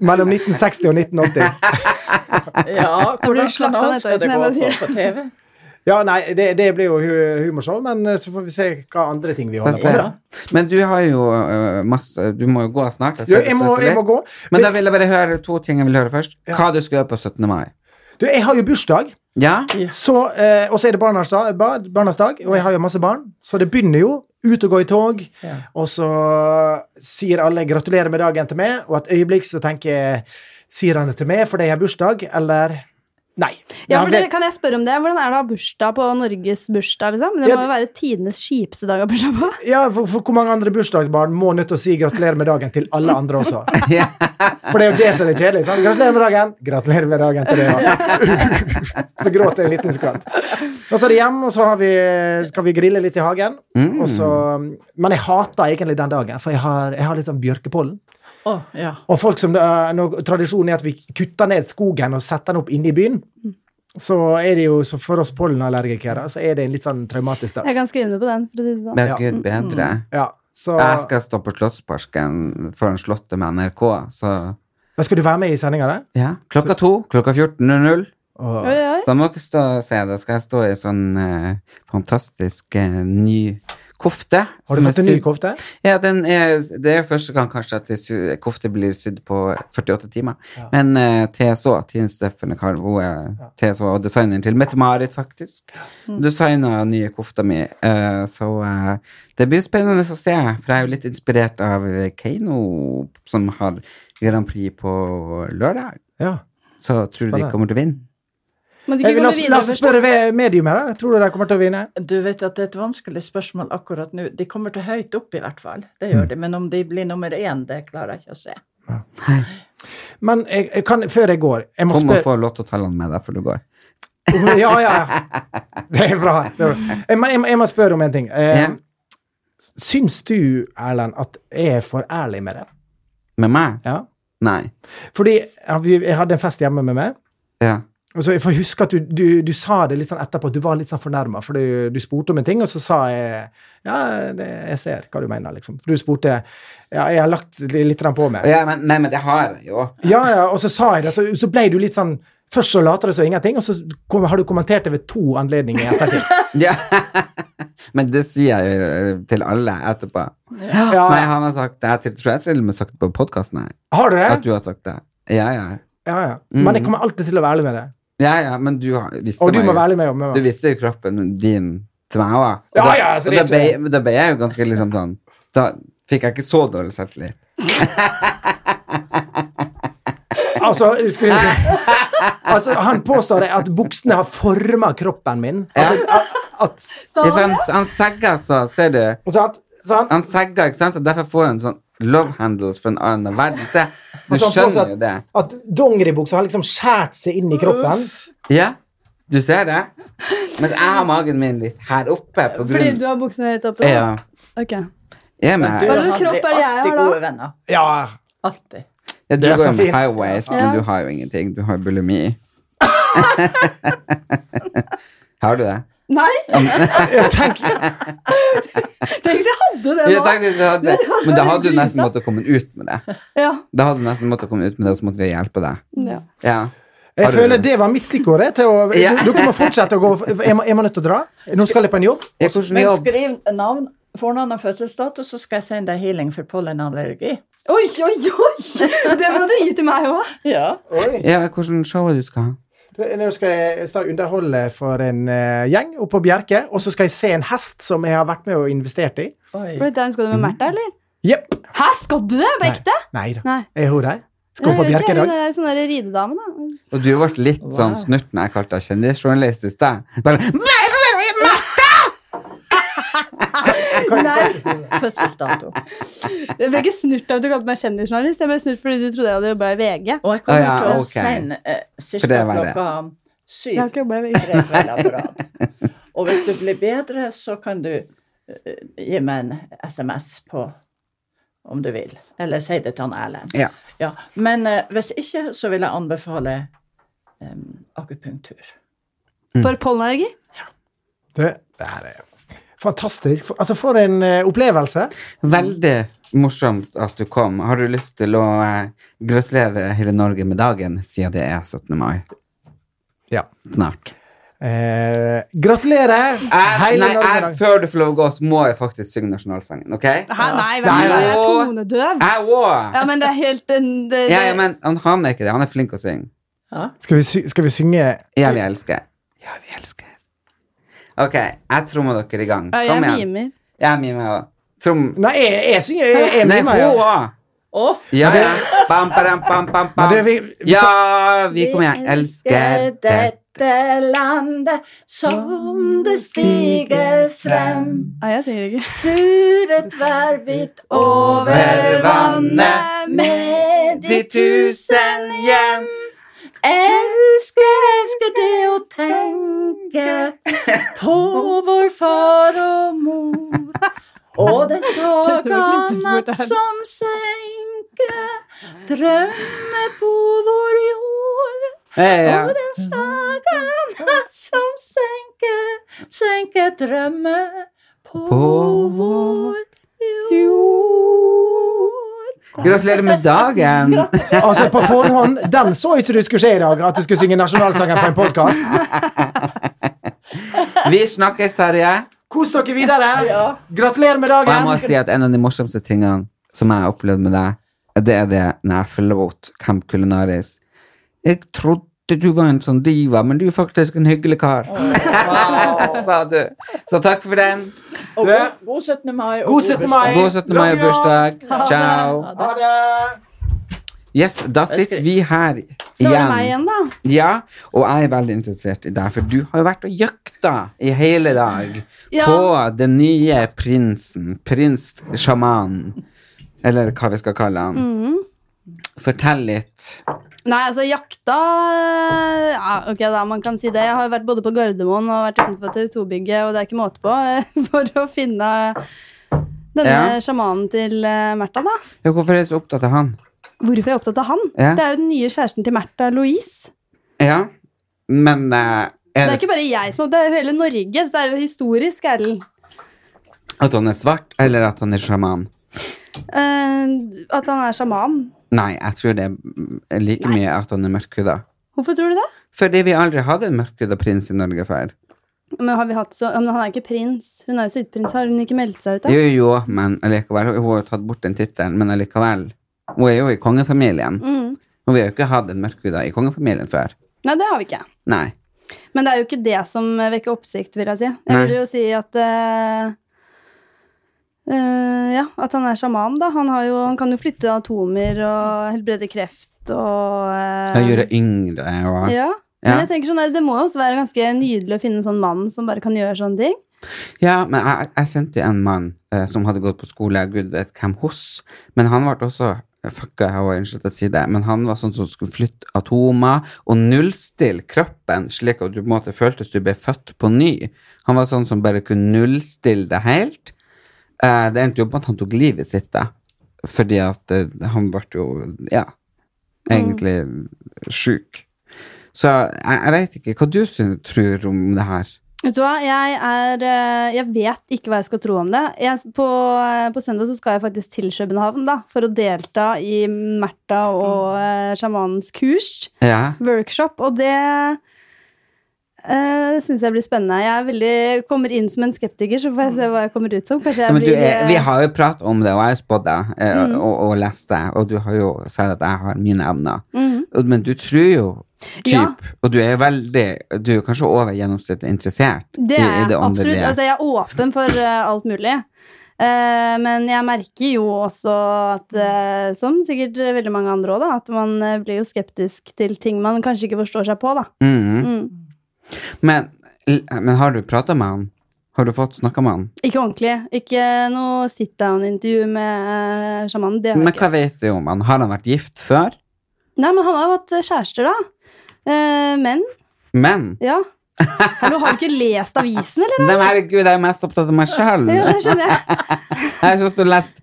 mellom 1960 og 1980. ja blir hvordan slakta kanal skal nettavisen, det jeg gå må si på det. på TV? Ja, nei, det, det blir jo hu- humorshow, men eh, så får vi se hva andre ting vi Få holder se. på med. bra. Men du har jo øh, masse Du må jo gå snart. ser Ja, du jeg må- stresser jeg må litt. gå. Men Det- da vil jeg bare høre to ting jeg vil høre først. Hva du skal gjøre på 17. mai. Du, jeg har jo bursdag, Ja? så, eh, og så er det barnas dag, bar- barnas dag, og jeg har jo masse barn, så det begynner jo. Ut og gå i tog, Ja. og så sier alle 'gratulerer med dagen' til meg, og et øyeblikk så tenker jeg 'sier han det til meg fordi jeg har bursdag', eller Nei. Ja, Men for det- det, Kan jeg spørre om det? Hvordan er det å ha bursdag på Norges bursdag? liksom? Det Ja, må jo være tidenes kjipeste dag å ha bursdag på. Ja, for, for hvor mange andre bursdagsbarn må nødt til å si gratulerer med dagen til alle andre også? For det er jo det som er kjedelig. sant? Gratulerer med dagen! Gratulerer med dagen til deg også. Så gråter jeg en liten skvatt. Og så er det hjem, og så har vi, skal vi grille litt i hagen. Mm. Og så, men jeg hater egentlig den dagen, for jeg har, jeg har litt sånn bjørkepollen. Å, ja. Og folk som, da- når Tradisjonen er at vi kutter ned skogen og setter den opp inne i byen. Mm. Så er det jo, så for oss pollenallergikere så er det en litt sånn traumatisk dag. Jeg kan skrive ned på den. for å si det sånn. Men Mm. gud bedre. Ja, så, Jeg skal stå på Slottsparken foran Slottet med NRK, så Men skal du være med i sendinga, da? ja. Klokka to. Klokka 14.00. Åh. Oi, oi. Så jeg må ikke stå og se det. Skal jeg stå i sånn eh, fantastisk eh, ny kofte. Har du som er fått en ny sydd- kofte? Ja, den er, det er første gang kanskje at det sy- kofte blir sydd på 48 timer. Ja. Men eh, TSÅ, Tine Steffen Karl, hun er TSÅ og designeren til Mette-Marit, faktisk. Designa nye kofta mi. eh, så eh, det blir spennende å se, for jeg er jo litt inspirert av Keiino, som har Grand Prix på lørdag. Ja. Så tror du de Spennende. kommer til å vinne? Men de Jeg vil, la, kunne gå oss- la videre oss først. spørre ved- medium her. da. Tror du de kommer til å vinne? Du vet at det er et vanskelig spørsmål akkurat nå. De kommer til høyt opp, i hvert fall. Det gjør de. Men om de blir nummer én, det klarer jeg ikke å se. Men jeg, jeg kan, før jeg går jeg må Kom og spørre, få lottotallene med deg før du går. Ja, ja, ja. Det er bra. Det er bra. Jeg, må- jeg, må- jeg må spørre om en ting. Eh, Ja. Syns du, Erlend, at jeg er for ærlig med det? Med meg? Ja. Nei. Fordi ja, vi- jeg hadde en fest hjemme med meg. Ja. Og så jeg får huske at du, du, du sa det litt sånn etterpå, at du var litt sånn fornærma, for du, du spurte om en ting, og så sa jeg Ja, det, jeg ser hva du mener, liksom. For du spurte Ja, jeg har lagt li- litt grann på meg. ja men, nei, men det har jeg jo. Ja, ja, og så sa jeg det, så, så ble du litt sånn Først så later det som ingenting, og så kom, har du kommentert det ved to anledninger i ettertid. Ja. Men det sier jeg jo eh, til alle etterpå. Ja, Nei, han har sagt det. Jeg til- tror jeg til og med har sagt det på podkasten her. har du At det? du har sagt det. Ja, ja. Ja, ja. Men jeg kommer alltid til å være ærlig med det. Ja, ja, men du har, visste Og du meg må jo. være ærlig med meg. Du visste jo kroppen din til meg òg. Ja, ja, altså, og det da er ble, ikke da ble jeg jo ganske liksom sånn Da fikk jeg ikke så dårlig selvtillit. Altså, husker du altså, han påstår at buksene har forma kroppen min. At, at, Så, Ja, for han, han segger så, ser du. at, at, sånn. Han segger, ikke sant, så derfor får han sånn love handles fra en annen verden. Se, du Altså, han skjønner påstår jo det. At dongeribuksa har liksom skåret seg inn i kroppen. Ja, du ser det. Mens jeg har magen min litt her oppe på fordi grunn du har buksene høyt oppe? da? Ja, Ok. ja, men, Du jeg- Hva har slags kropp er det jeg har, alltid da? gode venner. Ja. Alltid. ja, du Det er går så jo med fint. high waist, Ja. men du har jo ingenting. Du har jo bulimi. har du det? Nei! Tenk, Tenk hvis jeg hadde det Ja, nå! takk, hvis du hadde, hadde men da vært hadde du nesten grusomt. måttet komme ut med det. Ja. Da hadde du nesten måttet komme ut med det, og så måtte vi hjelpe deg. ja. Ja. jeg Har du- føler det var mitt stikkord. jeg, Til å, Ja. Dere må fortsette å gå. Jeg må, jeg må nødt til å dra. Nå skal jeg på en jobb. Ja, hvordan Men jobb? skriv navn, fornavn og fødselsdato, så skal jeg sende deg healing for pollenallergi. Oi, oi, oi! Det må du gi til meg òg. Ja. Ja, hvordan show du skal ha? Nå skal jeg, jeg skal underholde for en eh, gjeng oppe på Bjerke. Og så skal jeg se en hest som jeg har vært med og investert i. Oi. Skal du med Märtha, eller? Jepp. Hæ, skal du det? På ekte? Nei da. Nei. Er hun der? Skal hun på Jeg vet Bjerke ikke, i dag? Hun er sånn der ridedame, da. Og du ble litt sånn snurt når jeg kalte deg kjendisjournalist i sted. Bare Nei, fødselsdato. Jeg ble ikke snurt av at du kalte meg kjendisjournalist. Jeg ble snurt fordi du trodde jeg hadde jobba i VG. Og jeg Å, kommer ja, til å ok. sende eh, For cirka det var det. klokka Jeg syv. har ikke jobbet i VG. tre kvelder på rad. Og hvis du blir bedre, så kan du eh, gi meg en SMS på om du vil. Eller si det til han Erlend. Ja. Ja. Men eh, hvis ikke, så vil jeg anbefale em, akupunktur. Mm. For pollenallergi? Det, det her er fantastisk. For- Altså, for en eh, opplevelse. Veldig morsomt at du kom. Har du lyst til å eh, gratulere hele Norge med dagen, siden det er 17. mai Ja. snart? Eh, gratulerer! Jeg, Hele nei, Norge i jeg, dag. før du får lov å gå, så må jeg faktisk synge nasjonalsangen, ok? Hæ, nei, vær Nei, så snill, jeg er nei. tonedøv. Jeg òg! Ja, men det er helt en- det, det, Ja, ja, men han, han er ikke det. Han er flink å synge. Ja. Skal vi, sy skal vi synge Ja, vi elsker. Ja, vi elsker. Ok, jeg trommer dere i gang. Ja, Kom jeg igjen. mimer. Jeg er mime òg. Trom... Nei, jeg, jeg synger jeg, jeg, Nei, mimer, hun ja. òg! Og Ja, ja. Bam, padam, bam, bam, Men bam. det, vi, vi kan- Ja, vi kommer igjen. Elsker deg. dette landet som det stiger frem. Nei, jeg synger ikke. Furet tverrbit over vannet med de tusen hjem. Elsker, elsker det å tenke på vår far og mor. Og den sorga natt som senker drømmer på vår jord. Ja, ja. Og den sagan som senker, senker drømmer på, På vår jord. Gratulerer med dagen! altså, på forhånd, den så ikke du skulle skje i dag, at du skulle synge nasjonalsangen på en podkast. Vi snakkes, Terje. Kos dere videre! Ja. Gratulerer med Og jeg må dagen! si at en av de morsomste tingene som jeg har opplevd med deg, det er det når jeg forlot Camp Culinaris. Jeg trodde du var en sånn diva, men du er faktisk en hyggelig kar. Sa du. Så takk for den. Og Det- god, god 17. mai. og God 17. mai. bursdag. God 17. mai og bursdag. Ciao. Ha det! Yes, da sitter vi her Da var det meg igjen. igjen, da. Ja, og jeg er veldig interessert i deg, for du har jo vært og jakta i hele dag Ja. på den nye prinsen, prins-sjamanen, eller hva vi skal kalle han. Mm. Fortell litt. Nei, altså jakta eh, ja, Ok, da, man kan si det. Jeg har jo vært både på Gardermoen og vært utenfor TV 2-bygget, og det er ikke måte på, eh, for å finne denne Ja. sjamanen til eh, Märtha, da. Ja, hvorfor er du så opptatt av han? Hvorfor er jeg opptatt av han? Ja. Det er jo den nye kjæresten til Märtha, Louise. Ja, men eh, Det er er det ikke bare jeg som er opptatt, det er jo hele Norge. Det er jo historisk, Erlend. at han er svart, eller at han er sjaman? Eh, at han er sjaman. Nei, jeg tror det er like mye at han er mørkhuda. Hvorfor tror du det? Fordi vi aldri hadde en mørkhuda prins i Norge før. Men, har vi hatt så, men han er ikke prins. Hun er jo sydprins. Har hun ikke meldt seg ut, da? Jo, jo, men allikevel. Hun har jo tatt bort den tittelen, men allikevel. Hun er jo i kongefamilien. Mm. Og vi har jo ikke hatt en mørkhuda i kongefamilien før. Nei, det har vi ikke. Nei. Men det er jo ikke det som vekker oppsikt, vil jeg si. Jeg Nei. vil jo si at eh, eh, Ja, at han er sjaman, da. Han, har jo, han kan jo flytte atomer og helbrede kreft og eh, Og gjøre yngre og ja. Ja. Men jeg tenker sånn, der, det må jo også være ganske nydelig å finne en sånn mann som bare kan gjøre sånne ting. Ja, men jeg, jeg kjente jo en mann eh, som hadde gått på skole, gud vet hvem hos, men han ble også Fucka, jeg var unnskyld å si det, men han var sånn som skulle flytte atomer og nullstille kroppen slik at du på en måte føltes du ble født på ny. Han var sånn som bare kunne nullstille det helt. Eh, det endte jo på at han tok livet sitt, da, fordi at eh, han ble jo, ja, egentlig sjuk. Så jeg, jeg vet ikke hva du syn- tror om det her. Vet du hva, jeg er eh, Jeg vet ikke hva jeg skal tro om det. Jeg, på, eh, på søndag så skal jeg faktisk til København, da, for å delta i Märtha og Mm. eh, sjamanens kurs. Ja. workshop, og det uh, syns jeg blir spennende. Jeg er veldig, kommer inn som en skeptiker, så får jeg se hva jeg kommer ut som. Mm. Ja, Kanskje jeg men du, blir er, vi eh, Mm. har jo pratet om det, og jeg har spådd det, eh, og, og lest det, og du har jo sagt at jeg har mine evner. Mhm. Og- Men du tror jo typ, Ja. og du er veldig, du er kanskje over gjennomsnittet interessert Det i, er i jeg det absolutt. åndelige. Altså, jeg er åpen for eh, alt mulig. Eh, men jeg merker jo også at, eh, som sikkert veldig mange andre òg, at man eh, blir jo skeptisk til ting man kanskje ikke forstår seg på, da. Mhm. Mm. men, men har du pratet med han? Har du fått snakket med han? Ikke ordentlig. Ikke noe sit down-intervju med eh, sjamanen. Det har Men jeg ikke. hva vet vi om han? Har han vært gift før? Nei, men han har jo hatt eh, kjærester, da. Eh, menn. Men, Ja. Hallo, har du ikke lest avisen, eller? nei, men herregud, jeg er mest opptatt av meg selv. Ja, det skjønner jeg. Jeg har stått og lest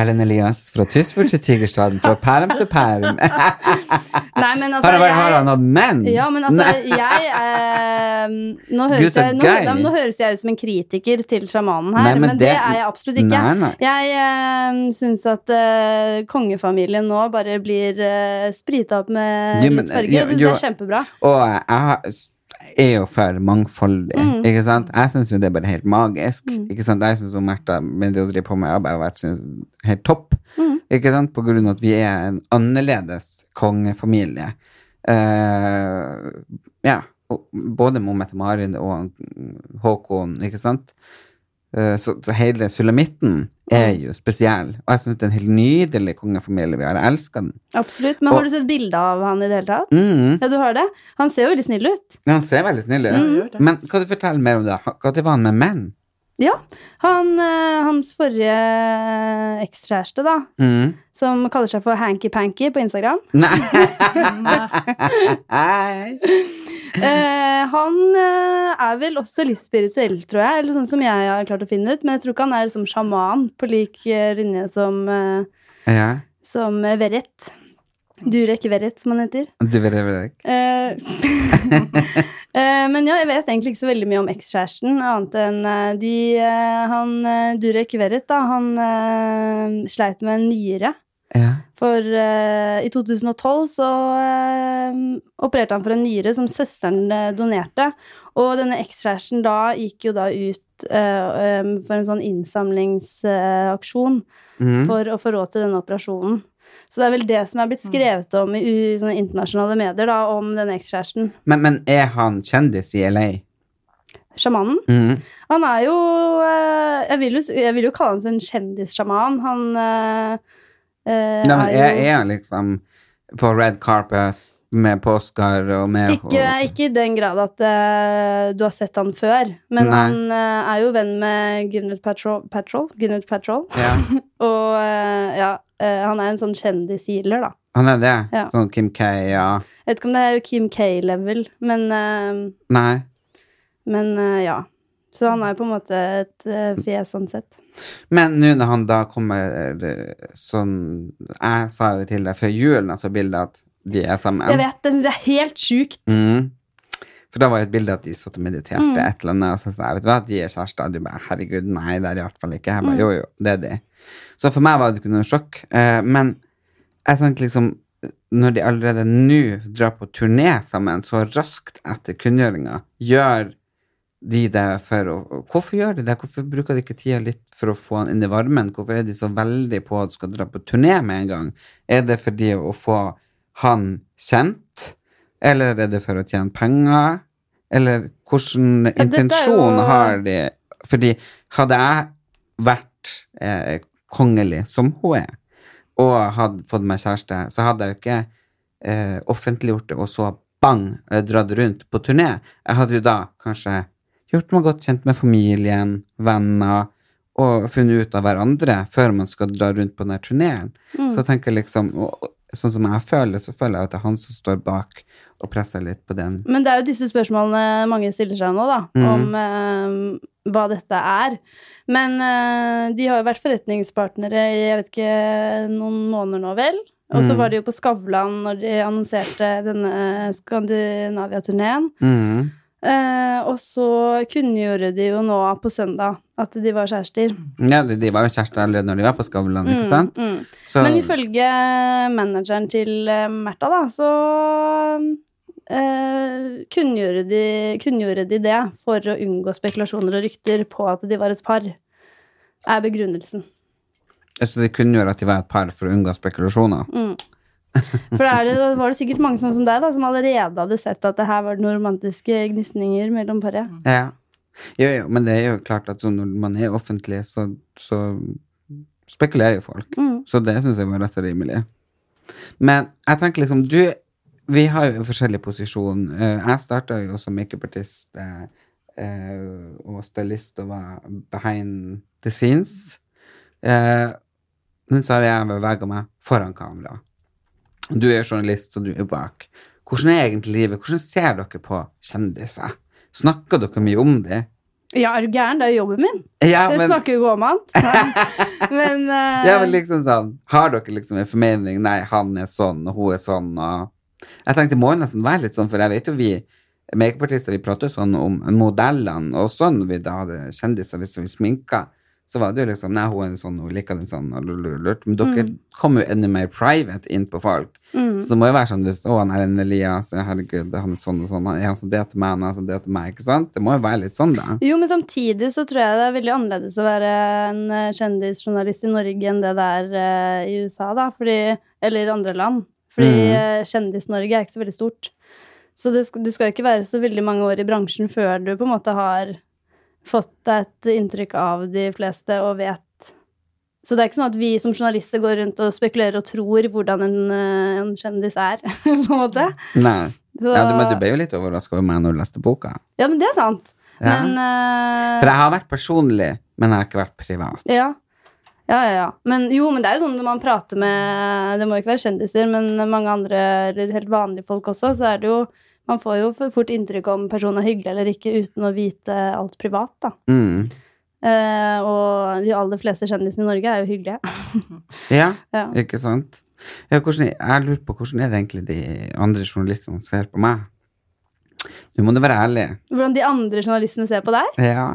Erlend Elias fra Tysfjord til Tigerstaden, fra perm til perm. Nei, men altså, Har han, vært- har han jeg, hatt menn? ja, men altså, jeg eh, nå, Mm. Gud, høres så jeg, nå, gøy. nei, men nå høres jeg ut som en kritiker til sjamanen her, Nei, men men, det, det- er jeg absolutt ikke. Nei, nei. Jeg eh, syns at eh, kongefamilien nå bare blir eh, sprita opp med Jo, men, livsfarger, og det jo, syns jeg er kjempebra. Og jeg har- er jo for mangfoldig, Mm. ikke sant? Jeg syns jo det er bare helt magisk. ikke sant? Jeg syns Märtha med det hun driver på med, har bare vært synes, helt topp. Mm. Ikke sant? På grunn av at vi er en annerledes kongefamilie. Eh, ja. og Både med Mette-Marin og Håkon, ikke sant? Eh, Så, så hele sulamitten er Mm. jo spesiell, og jeg syns det er en helt nydelig kongefamilie vi har. Jeg elsker den. Absolutt. Men Og- har du sett bilde av han i det hele tatt? Mm. Ja, du har det? Han ser jo veldig snill ut. Ja, Han ser veldig snill ut. gjør det. Men kan du fortelle mer om det? Når var han med menn? Ja. Han, eh, hans forrige ekskjæreste, da, Mm. som kaller seg for Hanky Panky på Instagram, Nei. eh, han eh, er vel også litt spirituell, tror jeg. Eller sånn som jeg har klart å finne ut. Men jeg tror ikke han er liksom sjaman på lik eh, linje som, eh, ja. som eh, Verrett. Durek Verrett, som han heter. Du vil det Eh, eh, men ja, jeg vet egentlig ikke så veldig mye om ekskjæresten, annet enn eh, de eh, Han eh, Durek Verrett, da, han eh, sleit med en nyre. Ja. For eh, i 2012 så eh, opererte han for en nyre som søsteren eh, donerte. Og denne ekskjæresten da gikk jo da ut ut eh, em, for en sånn innsamlingsaksjon Mhm. for å få råd til denne operasjonen. Så det er vel det som er blitt skrevet om i u- sånne internasjonale medier, da, om denne ekskjæresten. Men, men er han kjendis i LA? Sjamanen. Mhm. Han er jo eh, Jeg vil jo, s- jeg vil jo kalle han en kjendissjaman. Han eh, eh, Nei, men er er, jo er han liksom på red carpet med på Oscar og med Ikke, ikke i den grad at eh, du har sett han før, men Nei. han eh, er jo venn med Gwyneth Patrol, Patrol, Gwyneth Patrol. Ja, og eh, ja, eh, han er en sånn kjendishealer, da. han er det? Ja. Sånn Kim K, ja. Jeg vet ikke om det er Kim K-level, men, eh, Nei. men eh, ja. Så han er på en måte et eh, fjes sånn sett. Men nå når han da kommer eh, sånn Jeg sa jo til deg før julen, altså bildet at de er sammen. Jeg vet, det syns jeg er helt sjukt. Mm. For da var jo et bilde at de satt og mediterte et eller annet, og så sa jeg, vet du hva, de er kjærester. Og du bare, herregud, nei, det er de i hvert fall ikke. Jeg bare, jo, jo, det er de. Så for meg var det ikke noe sjokk. Eh, men jeg tenkte liksom, når de allerede nå drar på turné sammen, så raskt etter kunngjøringa, gjør de det for å Hvorfor gjør de det? Hvorfor bruker de ikke tida litt for å få han inn i varmen? Hvorfor er de så veldig på at de skal dra på turné med en gang? Er det fordi å få han kjent? Eller er det for å tjene penger? Eller hvilken er intensjon jo- har de? Fordi hadde jeg vært eh, kongelig, som hun er, og hadde fått meg kjæreste, så hadde jeg jo ikke eh, offentliggjort det, og så bang, eh, dratt rundt på turné. Jeg hadde jo da kanskje gjort meg godt kjent med familien, venner, og funnet ut av hverandre før man skal dra rundt på denne turneen. Så jeg tenker liksom, og, og, sånn som jeg føler, så føler jeg at det er han som står bak og presser litt på den. Men det er jo disse spørsmålene mange stiller seg nå, da. Mhm. Om eh, hva dette er. Men eh, de har jo vært forretningspartnere i jeg vet ikke, noen måneder nå, vel? Og så Mhm. var de jo på Skavlan når de annonserte denne eh, Skandinavia-turneen. Mm. Eh, og så kunngjorde de jo nå på søndag at de var kjærester. Ja, de, de var jo kjærester allerede når de var på Skavlan, ikke sant? Mm, mm. Så, Men ifølge manageren til eh, Märtha, da, så eh, kunngjorde, de, kunngjorde de det for å unngå spekulasjoner og rykter på at de var et par. Er begrunnelsen. så de kunngjorde at de var et par for å unngå spekulasjoner. Mm. For da er det, da var det sikkert mange sånn som deg da, som allerede hadde sett at det her var noen romantiske gnisninger mellom paret. Ja. Jo, jo, men det er jo klart at sånn når man er offentlig, så, så spekulerer jo folk. Mm. Så det syns jeg var rett og rimelig. Men jeg tenker liksom, du Vi har jo forskjellig posisjon. Eh, Jeg starta jo som makeupartist eh, eh, og stylist og var behind the scenes. Eh, Men så har jeg bevega meg foran kamera. Du er journalist, så du er bak. Hvordan er egentlig livet? Hvordan ser dere på kjendiser? Snakker dere mye om det? Ja, er du gæren? Det er jo jobben min. Ja, Jeg men, snakker jo ikke om annet. Men, eh, ja, men liksom sånn Har dere liksom en formening Nei, han er sånn, og hun er sånn og Jeg tenkte det må jo nesten være litt sånn, for jeg vet jo vi makeupartister vi prater jo sånn om modellene og sånn. Når vi da hadde kjendiser, hvis vi sminka, så var det jo liksom Nei, hun er sånn, hun liker den sånn, og lululult. Men dere Mm. kom jo enda mer private inn på folk. Så det må jo være sånn hvis, Å, han er en Elias, ja, herregud, han er sånn og sånn. Han er sånn det til meg, han er sånn det til meg, ikke sant? Det må jo være litt sånn, da. Jo, men samtidig så tror jeg det er veldig annerledes å være en eh, kjendisjournalist i Norge enn det det er eh, i USA, da. Fordi, eller i andre land. Fordi Mhm. eh, Kjendis-Norge er ikke så veldig stort. Så det, sk- du skal jo ikke være så veldig mange år i bransjen før du på en måte har fått deg et inntrykk av de fleste og vet Så det er ikke sånn at vi som journalister går rundt og spekulerer og tror hvordan en, eh, en kjendis er, på en måte. Nei. Så, Ja, du, men du ble jo litt overraska over meg når du leste boka. ja, men det er sant. Ja. Men eh, For jeg har vært personlig, men jeg har ikke vært privat. Ja. Ja, ja, ja. Men, jo, men det er jo sånn når man prater med Det må jo ikke være kjendiser, men mange andre eller helt vanlige folk også, så er det jo Man får jo for fort inntrykk om personen er hyggelig eller ikke uten å vite alt privat, da. Mm. Eh, og de aller fleste kjendisene i Norge er jo hyggelige. Ja, Ja. ikke sant? Ja, hvordan, jeg lurer på hvordan er det egentlig de andre journalistene ser på meg? Nå må du være ærlig. Hvordan de andre journalistene ser på deg? Ja.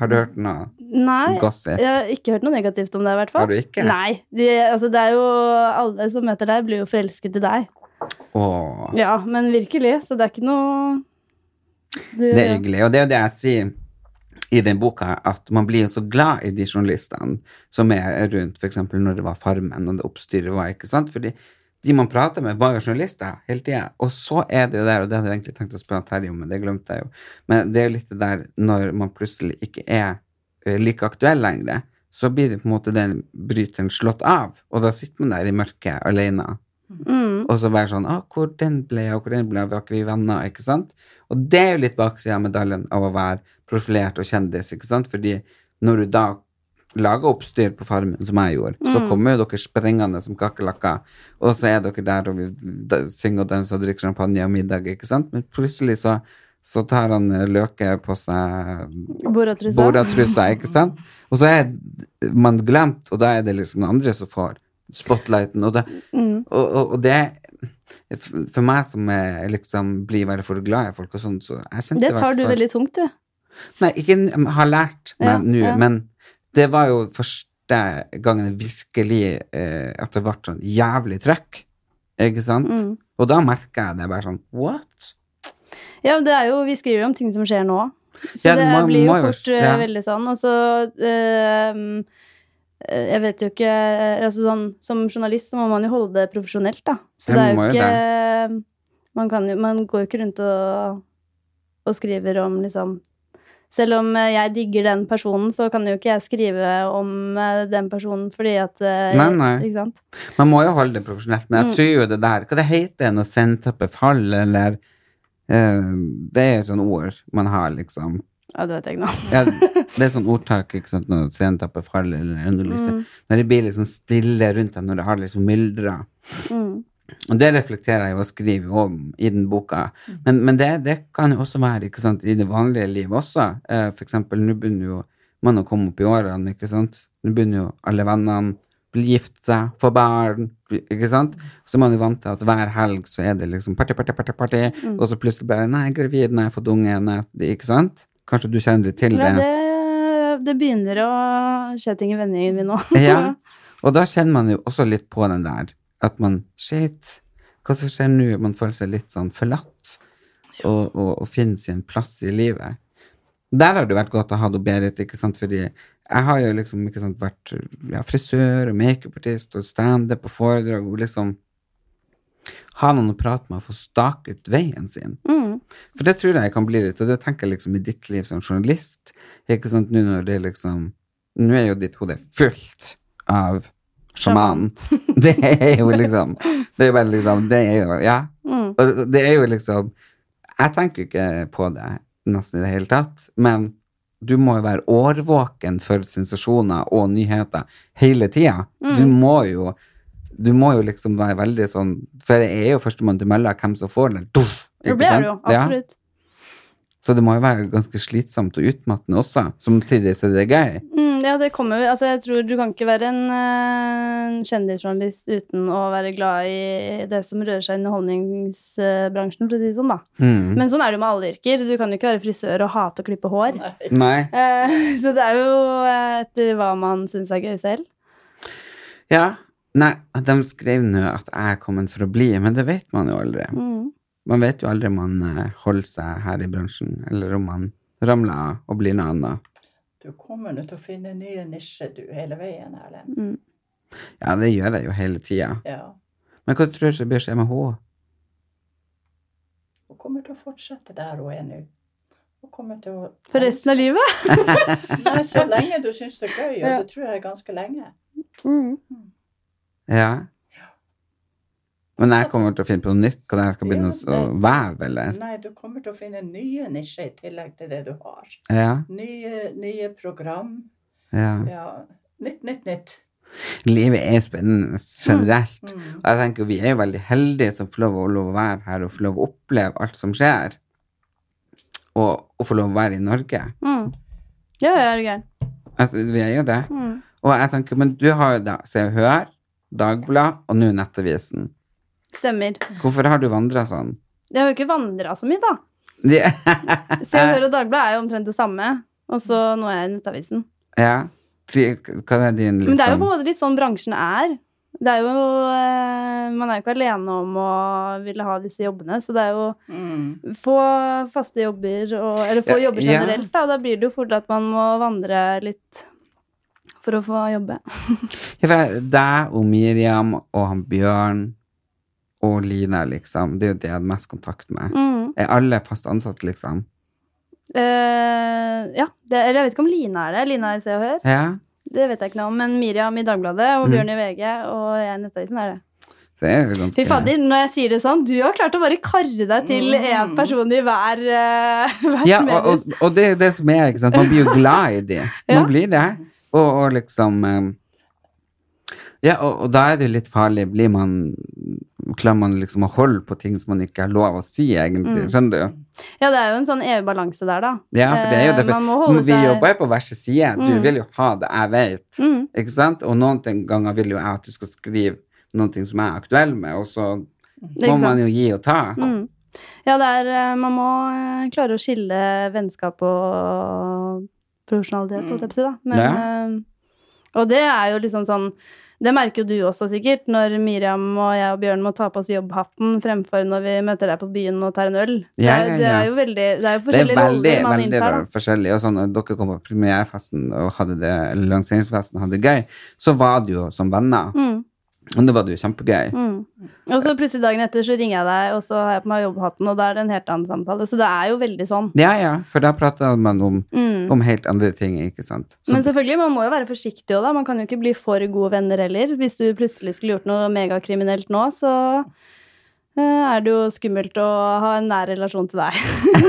Har du hørt noe Nei. gossip? Jeg har ikke hørt noe negativt om deg, i hvert Har fall. du ikke? Nei. De, altså, det er jo Alle som møter deg, blir jo forelsket i deg. Åh, Ja, men virkelig. Så det er ikke noe du, det er hyggelig. Og det er jo det jeg sier i den boka at man blir jo så glad i de journalistene som er rundt, f.eks. når det var Farmen og det oppstyret var, ikke sant? Fordi de man prater med, var jo journalister hele tida. Og så er det jo der, og det hadde jeg egentlig tenkt å spørre Terje om, men det glemte jeg jo, men det er jo litt det der når man plutselig ikke er eh, like aktuell lenger, så blir det på en måte den bryteren slått av, og da sitter man der i mørket alene. Mm. Og så være sånn ah, 'Hvor den ble av, hvor den ble av, var ikke vi venner?' Ikke sant? Og det er jo litt baksida av medaljen av å være profilert og kjendis, ikke sant? Fordi når du da lager oppstyr på Farmen, som jeg gjorde, så kommer jo dere sprengende som kakerlakker, og så er dere der og vi da- synger og danser og drikker champagne og middag, ikke sant? Men plutselig så, så tar han eh, Løke på seg Boratrusa. Boratrusa, ikke sant? Og så er man glemt, og da er det liksom den andre som får spotlighten. Og, da, Mm. og, og, og det For meg som er, liksom blir veldig for glad i folk og sånn, så jeg kjente Det tar du hvertfall- veldig tungt, du. Nei, ikke n- har lært meg Ja, nå, ja. men det var jo første gangen virkelig eh, at det ble sånn jævlig trøkk. Ikke sant? Mm. Og da merka jeg det bare sånn What? Ja, men det er jo, vi skriver om ting som skjer nå. Så Ja, det må- blir jo må jo- fort eh, ja. veldig sånn. Og så ehm, eh, Jeg vet jo ikke eh, altså sånn, Som journalist så må man jo holde det profesjonelt, da. Så Ja, det er man jo må jo ikke man, kan jo, man går jo ikke rundt og, og skriver om liksom selv om eh, jeg digger den personen, så kan jo ikke jeg skrive om eh, den personen fordi at eh, Nei, nei. Ikke sant? Man må jo holde det profesjonelt, men jeg Mm. tror jo det der Hva det heter det når sendteppet faller, eller eh, Det er jo sånne ord man har, liksom. Ja, det vet jeg ikke nå. Ja, det er sånn ordtak ikke sant, når sendteppet faller, eller underlyset. Når det blir liksom stille rundt deg, når det har liksom myldra. Mm. Og det reflekterer jeg jo og skriver jo om i den boka. Men, men det, det kan jo også være ikke sant, i det vanlige livet også. Eh, for eksempel, nå begynner jo man å komme opp i årene, ikke sant. Nå begynner jo alle vennene bli gift seg, få barn, bli- ikke sant. Så man er jo vant til at hver helg så er det liksom party, party, party, party. Og så plutselig bare Nei, jeg er gravid, nei, jeg har fått unge, nei, ikke sant. Kanskje du kjenner litt til Ja, det. det, det begynner å skje ting i vendingen min nå. Ja. Og da kjenner man jo også litt på den der at man Shit, hva som skjer nå? Man føler seg litt sånn forlatt og, og, og finner sin plass i livet. Der har det vært godt å ha det Berit, ikke sant, fordi jeg har jo liksom ikke sant, vært ja, frisør og makeupartist og standup og foredrag og liksom ha noen å prate med og få stake ut veien sin. Mm. For det tror jeg kan bli litt, og det tenker jeg liksom i ditt liv som journalist. Ikke sant, nå når det liksom Nå er jo ditt hode fullt av sjamanen. Det er jo liksom Det er jo bare liksom Det er jo Ja. Mm. Og det er jo liksom Jeg tenker jo ikke på det nesten i det hele tatt, men du må jo være årvåken for sensasjoner og nyheter hele tida. Du Mm. må jo du må jo liksom være veldig sånn For jeg er jo førstemann til mølla hvem som får den. Duff, Det ikke blir sant? det jo, Ja. absolutt. Så det må jo være ganske slitsomt og utmattende også. Samtidig så er det gøy. Mm, ja, det kommer jo Altså, jeg tror du kan ikke være en eh, kjendisjournalist uten å være glad i det som rører seg i underholdningsbransjen, for å si det sånn, da. Mm. Men sånn er det jo med alle yrker. Du kan jo ikke være frisør og hate å klippe hår. Nei. Eh, så det er jo eh, etter hva man syns er gøy selv. Ja. Nei, de skrev nå at jeg er kommet for å bli, men det vet man jo aldri. Mm. Man vet jo aldri om man eh, holder seg her i bransjen, eller om man ramler av og blir noe annet. Du kommer nå til å finne nye nisjer, du, hele veien, Erlend. Mm. Ja, det gjør jeg jo hele tida. Ja. Men hva tror du bør skje med henne? Hun kommer til å fortsette der hun er nå. Hun kommer til å For resten av livet. Nei, så lenge du syns det er gøy, og Ja. det tror jeg er ganske lenge. Mm. Ja. Men jeg kommer til å finne på noe nytt, hva det er jeg skal begynne Ja, å veve, eller? Nei, du kommer til å finne nye nisjer i tillegg til det du har. Ja, Nye, nye program. ja. Ja. Nytt, nytt, nytt. Livet er jo spennende generelt. Mm. Og jeg tenker vi er jo veldig heldige som får lov å, lov å være her og får lov å oppleve alt som skjer. Og, og får lov å være i Norge. Mm. Ja, ja, er du gæren. Altså, vi er jo det. Mm. Og jeg tenker, men du har jo da Se og Hør, Dagbladet og nå Nettavisen. Stemmer. Hvorfor har du vandra sånn? Jeg har jo ikke vandra så mye, da. De, Se Eh. og Hør og Dagbladet er jo omtrent det samme. Og så nå er jeg i Nettavisen. ja. Fri- Hva er din Men det er jo liksom på en måte litt sånn bransjen er. Det er jo eh, Man er jo ikke alene om å ville ha disse jobbene, så det er jo Mm. få faste jobber, og, eller få Ja, jobber ja. generelt, da. Og da blir det jo fort at man må vandre litt for å få jobbe. Ja, for jeg- Deg og Miriam og han Bjørn og Lina, liksom. Det er jo det jeg hadde mest kontakt med. Mm. Er alle fast ansatt, liksom? Eh, ja, det, eller jeg vet ikke om Line er det. Line er i Se og Hør. Ja. Det vet jeg ikke noe om, men Miriam i Dagbladet og Mm. Bjørn i VG og jeg i Nettavisen er det. Det er jo ganske Fy fader, når jeg sier det sånn, du har klart å bare karre deg til én person i hver, uh, hvert Mm. Ja, og, mediehus. og, og det er jo det som er, ikke sant. Man blir jo glad i de. Man Ja. blir det. Og, og liksom eh, Ja, og, og da er det jo litt farlig. Blir man Klarer man liksom å holde på ting som man ikke har lov å si, egentlig? Mm. Skjønner du? Ja, det er jo en sånn evig balanse der, da. Ja, for det er jo Eh, derfor man må holde Vi seg- jobber jo på hver sin side. Du Mm. vil jo ha det jeg vet, Mm. ikke sant? Og noen ting- ganger vil jo jeg at du skal skrive noen ting som jeg er aktuell med, og så må sant? man jo gi og ta. Mm. Ja, det er eh, Man må eh, klare å skille vennskap og profesjonalitet, holdt jeg på å si, da. Men, Ja. eh, og det er jo liksom sånn Det merker jo du også sikkert, når Miriam og jeg og Bjørn må ta på oss jobbhatten fremfor når vi møter deg på byen og tar en øl. Ja, det, er, ja, det ja. er jo veldig Det er Det jo er forskjellige veldig, roller man veldig inntar, da. forskjellig. Og sånn, når dere kom på premierefesten og hadde det, eller lanseringsfesten og hadde det gøy, så var det jo som venner. Mm, Og det var det jo kjempegøy. mm. Og så plutselig dagen etter så ringer jeg deg, og så har jeg på meg jobbhatten, og da er det en helt annen samtale. Så det er jo veldig sånn. Ja, ja, for da prater man om, Mm. om helt andre ting, ikke sant. Så, Men selvfølgelig, man må jo være forsiktig òg, da. Man kan jo ikke bli for gode venner heller. Hvis du plutselig skulle gjort noe megakriminelt nå, så eh, er det jo skummelt å ha en nær relasjon til deg.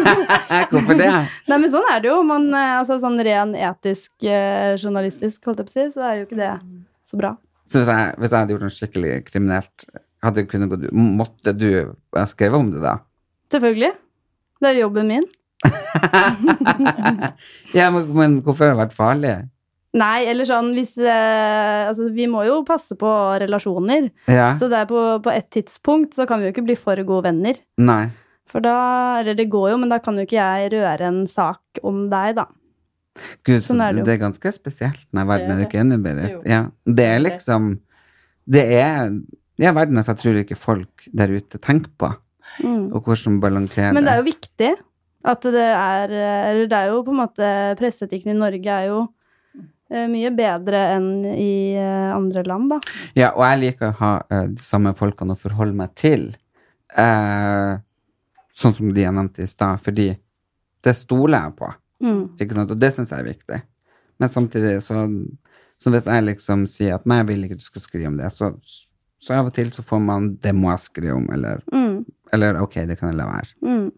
hvorfor det? Nei, men sånn er det jo. Man, eh, altså, sånn ren etisk, eh, journalistisk, holdt jeg på å si, så er jo ikke det så bra. Så hvis jeg, hvis jeg hadde gjort noe skikkelig kriminelt, hadde jeg kunnet gå, måtte du skrive om det da? Selvfølgelig. Det er jo jobben min. Ja, men, men hvorfor har det vært farlig? Nei, eller sånn hvis eh, Altså, vi må jo passe på relasjoner. Ja, Så det er på, på et tidspunkt så kan vi jo ikke bli for gode venner. nei. For da, eller det går jo, men da kan jo ikke jeg røre en sak om deg, da. Gud, Sånn så er det, det jo. det er ganske spesielt når verden Det er er det. ikke enig, Berit. Jo. Ja, det er liksom Det er ja, verden som jeg tror ikke folk der ute tenker på, Mm. og hvordan balanserer Men det er jo viktig at det er Eller det er jo på en måte Presseetikken i Norge er jo eh, mye bedre enn i eh, andre land, da. Ja, og jeg liker å ha eh, de samme folkene å forholde meg til, eh, sånn som de jeg nevnte i stad, fordi det stoler jeg på, Mm. ikke sant, og det syns jeg er viktig. Men samtidig så Så hvis jeg liksom sier at nei, jeg vil ikke du skal skrive om det, så, så av og til så får man det må jeg skrive om, eller Mm. Eller ok, det kan jeg la være. Mm.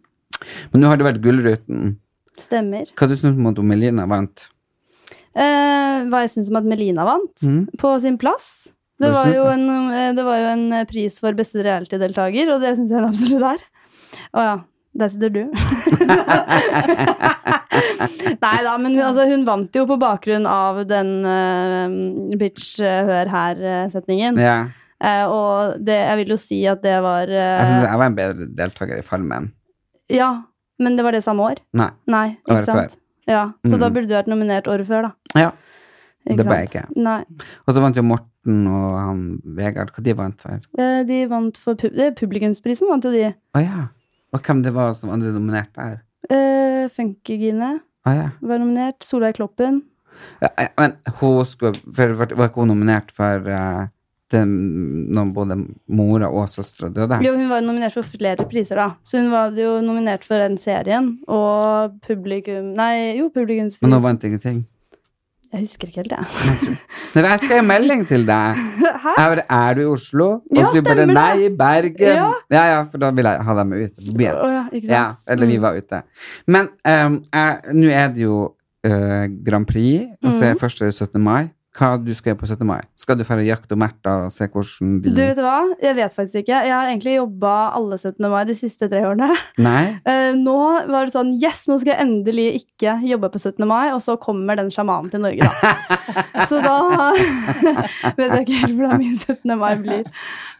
Men nå har det vært Gullruten. Stemmer. Hva du syns du om at Melina vant? Eh, hva jeg syns om at Melina vant, Mm. på sin plass. Det Hva var, syns jo du? en, eh, det var jo en eh, pris for beste reality-deltaker, og det syns jeg den absolutt er. Å ja, der sitter du. Nei da, men hun- altså, hun vant jo på bakgrunn av den eh, bitch eh, hør her-setningen. Ja, Eh, og det, jeg vil jo si at det var eh, jeg syns jeg var en bedre deltaker i Farmen. Ja, men det var det samme år. Nei, Nei, ikke Året sant. Ja, så Mm. da burde du vært nominert året før, da. Ja. Ikke det ble jeg sant? ikke. Nei. Og så vant jo Morten og han Vegard. Hva de vant for? Eh, De vant for pub eh, Publikumsprisen vant jo de. Å ja. Og hvem det var som andre nominert der? Eh, Funkygine Å ja. var nominert. Solveig Kloppen. Ja, ja, Men hun skulle for, for, Var ikke hun nominert for eh, den, når både mora og søstera døde? Jo, hun var jo nominert for flere priser, da. Så hun var jo nominert for den serien og publikum Nei, jo, publikumspris. Men hun vant ingenting. Jeg husker ikke helt, jeg. Nei, jeg skrev melding til deg. Hæ? Jeg bare, er du i Oslo? Og Ja, du bare stemmer det. nei, i Bergen. Ja. Ja. ja, for da vil jeg ha dem ut. på byen. Å ja, ikke sant. Mm. Ja, eller vi var ute. Men ehm, jeg- nå er det jo eh, Grand Prix, og så er Mhm. først er det 17. mai. Hva du skal gjøre på 17. mai? Skal du dra og jakte og Märtha og se hvordan de Du, vet du hva? Jeg vet faktisk ikke. Jeg har egentlig jobba alle 17. mai de siste tre årene. Nei? Eh, nå var det sånn Yes, nå skal jeg endelig ikke jobbe på 17. mai, og så kommer den sjamanen til Norge, da. så da vet jeg ikke helt hvordan min 17. mai blir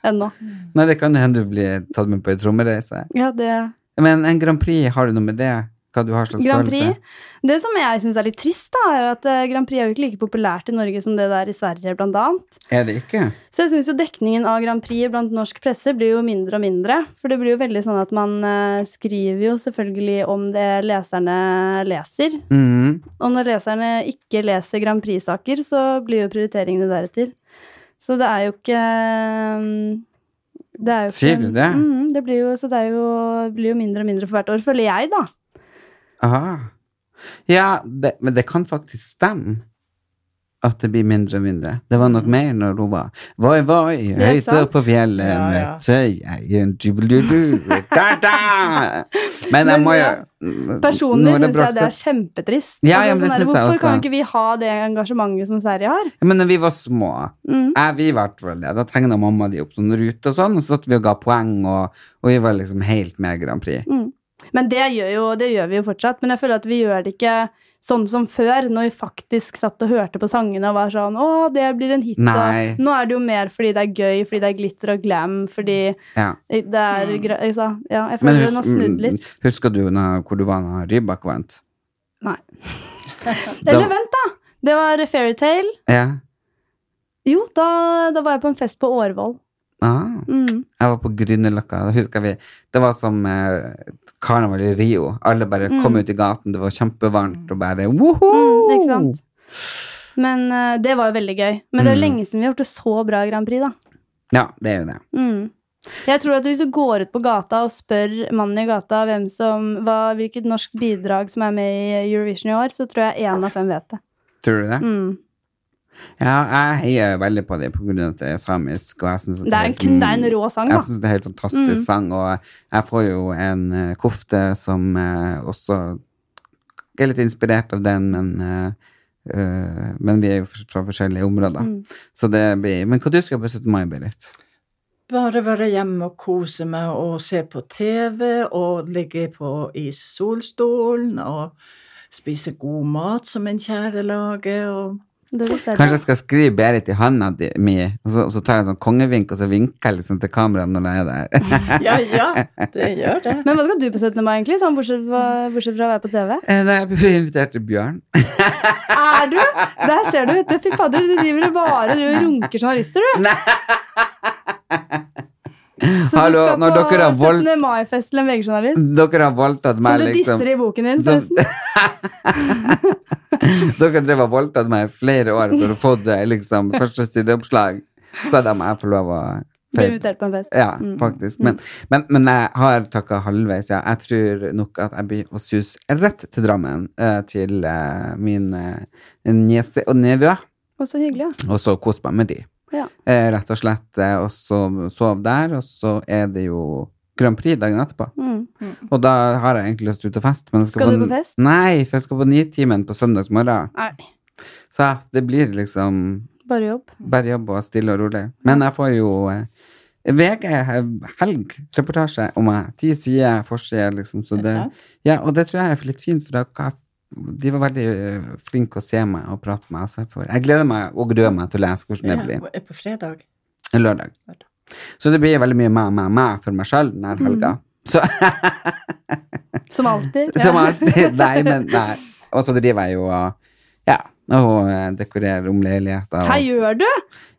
ennå. Nei, det kan jo hende du blir tatt med på ei trommereise. Ja, det Men en Grand Prix, har du noe med det Hva du har slags Grand Prix. følelse? Det som jeg syns er litt trist, da, er jo at eh, Grand Prix er jo ikke like populært i Norge som det det er i Sverige, blant annet. Er det ikke? Så jeg syns jo dekningen av Grand Prix blant norsk presse blir jo mindre og mindre. For det blir jo veldig sånn at man eh, skriver jo selvfølgelig om det leserne leser. Mhm. Og når leserne ikke leser Grand Prix-saker, så blir jo prioriteringene deretter. Så det er jo ikke um, det er jo ikke, Sier du det? Mhm, det blir jo, så det er jo, blir jo mindre og mindre for hvert år, føler jeg, da. Aha. Ja, det, men det kan faktisk stemme at det blir mindre og mindre. Det var nok mer når hun var Voi, voi, Ja, høyt ikke sant? opp på fjellet Ja, ja. møtte jeg en jubeldudu, da, da. Men jeg Men må ja, jo Personlig Nora syns jeg det er Brakseth- kjempetrist. Ja, ja, men det sånn der, synes jeg hvorfor også. kan ikke vi ha det engasjementet som Sverige har? Men når vi var små, Mm. jeg, vi var i hvert fall det, da tegna mamma de opp sånn rute og sånn, og så satt vi og ga poeng, og, og vi var liksom helt med i Grand Prix. Men det gjør, jo, det gjør vi jo fortsatt. Men jeg føler at vi gjør det ikke sånn som før, når vi faktisk satt og hørte på sangene og var sånn Å, det blir en hit. og Nei. Nå er det jo mer fordi det er gøy, fordi det er glitter og glam, fordi Ja. det er gra- jeg sa, Ja, jeg Mm. Men mm. føler hun har snudd hus, litt. husker du når, hvor du var da Rybak vant? Nei. Da- Eller vent, da! Det var Fairytale. Ja. Jo, da, da var jeg på en fest på Årvoll. Ah. Mm. Jeg var på Grünerløkka. Da husker vi Det var som eh, et karneval i Rio. Alle bare kom ut i gaten, det var kjempevarmt, og bare woho! Mm, ikke sant? Men eh, det var jo veldig gøy. Men Mm. det er jo lenge siden vi har gjort det så bra i Grand Prix, da. Ja, det er jo det. Mm. Jeg tror at hvis du går ut på gata og spør mannen i gata hvem som, hva, hvilket norsk bidrag som er med i Eurovision i år, så tror jeg én av fem vet det. Tror du det? Mm. Ja, jeg heier veldig på det på grunn av at det er samisk, og jeg synes at Det er en helt- kun- det er en rå sang, da. Mm. Jeg syns det er en helt fantastisk Mm. sang, og jeg får jo en eh, kofte som eh, også er litt inspirert av den, men eh, eh, men vi er jo fra forskjellige områder. Mm. Så det blir, men hva du skal på 17. mai, Berit? Bare være hjemme og kose meg og se på TV og ligge på i solstolen og spise god mat som en kjære lager og Det vet jeg Kanskje ikke. jeg skal skrive Berit i handa di, mi, og så, og så tar jeg en sånn kongevink, og så vinker jeg liksom til kameraet når jeg er der. Ja, ja, det gjør det. Men hva skal du på 17. mai, egentlig? Sånn, bortsett, fra- bortsett fra å være på TV? Eh, Da jeg ble invitert til Bjørn. Er du? Der ser du, vet du. Fy fader, du driver og bare du runker journalister, du. Så Hallo, du skal når på dere har vold- 17. mai-fest til en VG-journalist? Dere har voldtatt Som meg, du liksom. disser i boken din, Som- forresten. Dere drev og voldtatt meg i flere år for å få det liksom, første sideoppslag. Så da må jeg få lov å Blir invitert på en fest. Ja, faktisk. Mm. Men, men, men jeg har takka halvveis, ja. Jeg tror nok at jeg blir å suse rett til Drammen, eh, til eh, min eh, niese og nevø. Å, så hyggelig, ja. Og så kose meg med de. Ja. Eh, rett og slett. eh, Og så sove der, og så er det jo Grand Prix dagen etterpå. Mm. Og da har jeg egentlig lyst til å ut og feste. Men jeg Skal du på fest? Nei, for jeg skal på Nitimen på søndagsmorgen. Nei, Så ja, det blir liksom bare jobb. bare jobb og stille og rolig. Men jeg får jo eh, VG helg reportasje om meg. Ti sider forside, liksom. Så Er det det, sant? ja, og det tror jeg er litt fint, for da kan jeg- de var veldig eh, flinke å se meg og prate med meg. Så jeg, får, jeg gleder meg og gruer meg til å lese hvordan det blir. Ja, på fredag. En lørdag. Så det blir veldig mye meg, meg, meg for meg sjøl denne Mm. helga. Så, Som alltid. ja. som alltid. Nei, men nei. Og så driver jeg jo og ja, og eh, dekorerer om leiligheter. og- Hva gjør du?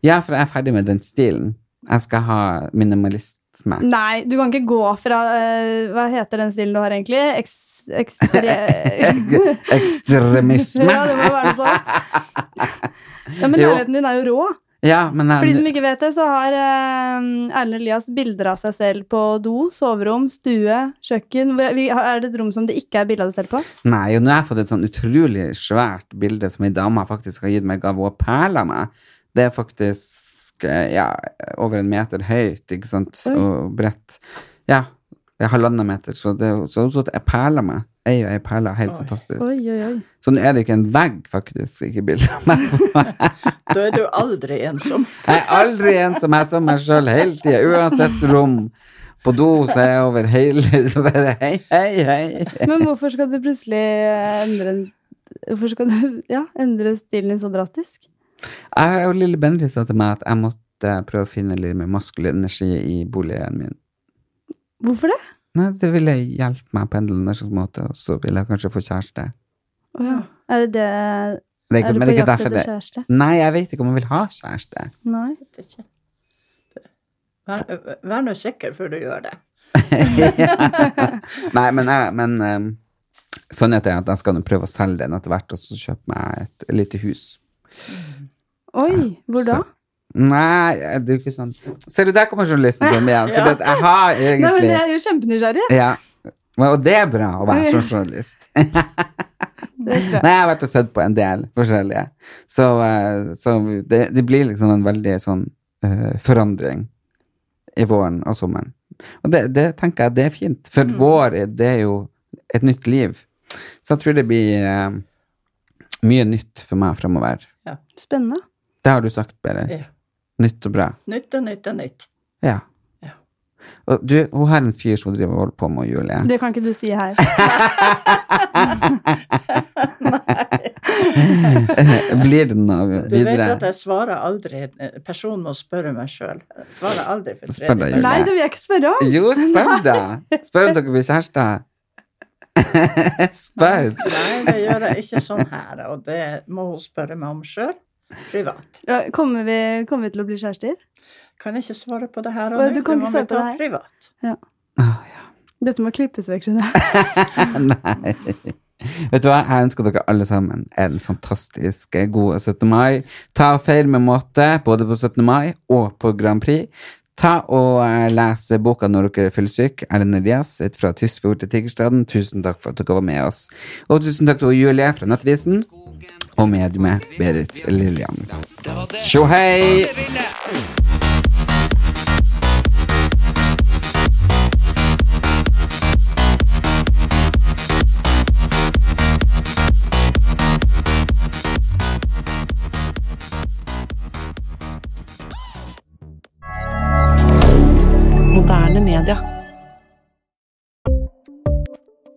Ja, for jeg er ferdig med den stilen. Jeg skal ha minimalisme. Nei, du kan ikke gå fra eh, Hva heter den stilen du har, egentlig? Eks... Ekstre... Ekstremisme. Ja, det må jo være noe sånt. Ja, men Jo. leiligheten din er jo rå. Ja, men For de som jeg, ikke vet det, så har eh, Erlend Elias bilder av seg selv på do, soverom, stue, kjøkken. Hvor- vi- Er det et rom som det ikke er bilde av deg selv på? nei, jo, nå har jeg fått et sånn utrolig svært bilde som ei dame faktisk har gitt meg i gave og perla meg. Det er faktisk eh, ja, over en meter høyt, ikke sant, Oi. og bredt. Ja, det er halvannen meter, så det er jo så, så at jeg perler meg. Ei og ei perle, helt Oi. fantastisk. Oi, oi, oi. Så nå er det ikke en vegg, faktisk, ikke bilde av meg. Da er du aldri ensom. Jeg er aldri en som er som meg sjøl hele tida, uansett rom. På do så er jeg over hele så bare Hei, hei, hei. Men hvorfor skal du plutselig eh, endre en Hvorfor skal du ja, endre stilen din så drastisk? Jeg og lille Bendri sa til meg at jeg måtte prøve å finne litt mer maskulin energi i boligen min. Hvorfor det? Nei, det ville hjelpe meg å pendle en slags måte, og så ville jeg kanskje få kjæreste. Å ja. Er det det Det er Er ikke, du men det på er ikke jakt derfor etter det kjæreste? Nei, jeg vet ikke om jeg vil ha kjæreste. Nei. vet ikke. Vær, vær nå sikker før du gjør det. Nei, men, jeg, men ehm, sannheten er at jeg skal nå prøve å selge den etter hvert, og så kjøpe meg et lite hus. Oi, hvor da? Så- Nei, det er jo ikke sånn Ser du, der kommer journalisten til meg igjen. For det at jeg har Nei, men egentlig jeg er jo kjempenysgjerrig. ja. Men- Og det er bra å være som journalist. Det tror jeg. Nei, jeg har vært og sett på en del forskjellige. Så, eh, så det, det blir liksom en veldig sånn eh, forandring i våren og sommeren. Og det, det tenker jeg det er fint, for Mm. vår er- det er jo et nytt liv. Så jeg tror det blir eh, mye nytt for meg fremover. Spennende. Det har du sagt, Berit. Ja. Nytt og bra. Nytt og nytt og nytt. Ja. Ja. Og du, hun har en fyr som hun driver og holder på med, Julie. Det kan ikke du si her. Blir det noe Du vet videre? at jeg svarer aldri Personen må spørre meg sjøl. Svarer aldri for Spør deg, tredje Julie. gang. Nei, det vil jeg ikke spørre om. Jo, spør da! Spør om dere blir kjærester. spør. Nei, det gjør jeg ikke sånn her. Og det må hun spørre meg om sjøl, privat. Ja, Kommer vi, kommer vi til å bli kjærester? Kan jeg ikke svare på det her Å, og du nå. kan Det må ikke vi svare på ta det her. privat. Dette må klippes vekk, skjønner jeg. Nei. Vet du hva, jeg ønsker dere alle sammen en fantastisk god 17. mai. Ta og feir med måte, både på 17. mai og på Grand Prix. Ta og eh, les boka når dere er fullsyke. Erlend Elias ut fra Tysfjord til Tigerstaden. Tusen takk for at dere var med oss. Og tusen takk til Julie fra Nettvisen og mediumet Berit Lillian. Tjo hei! Moderne media.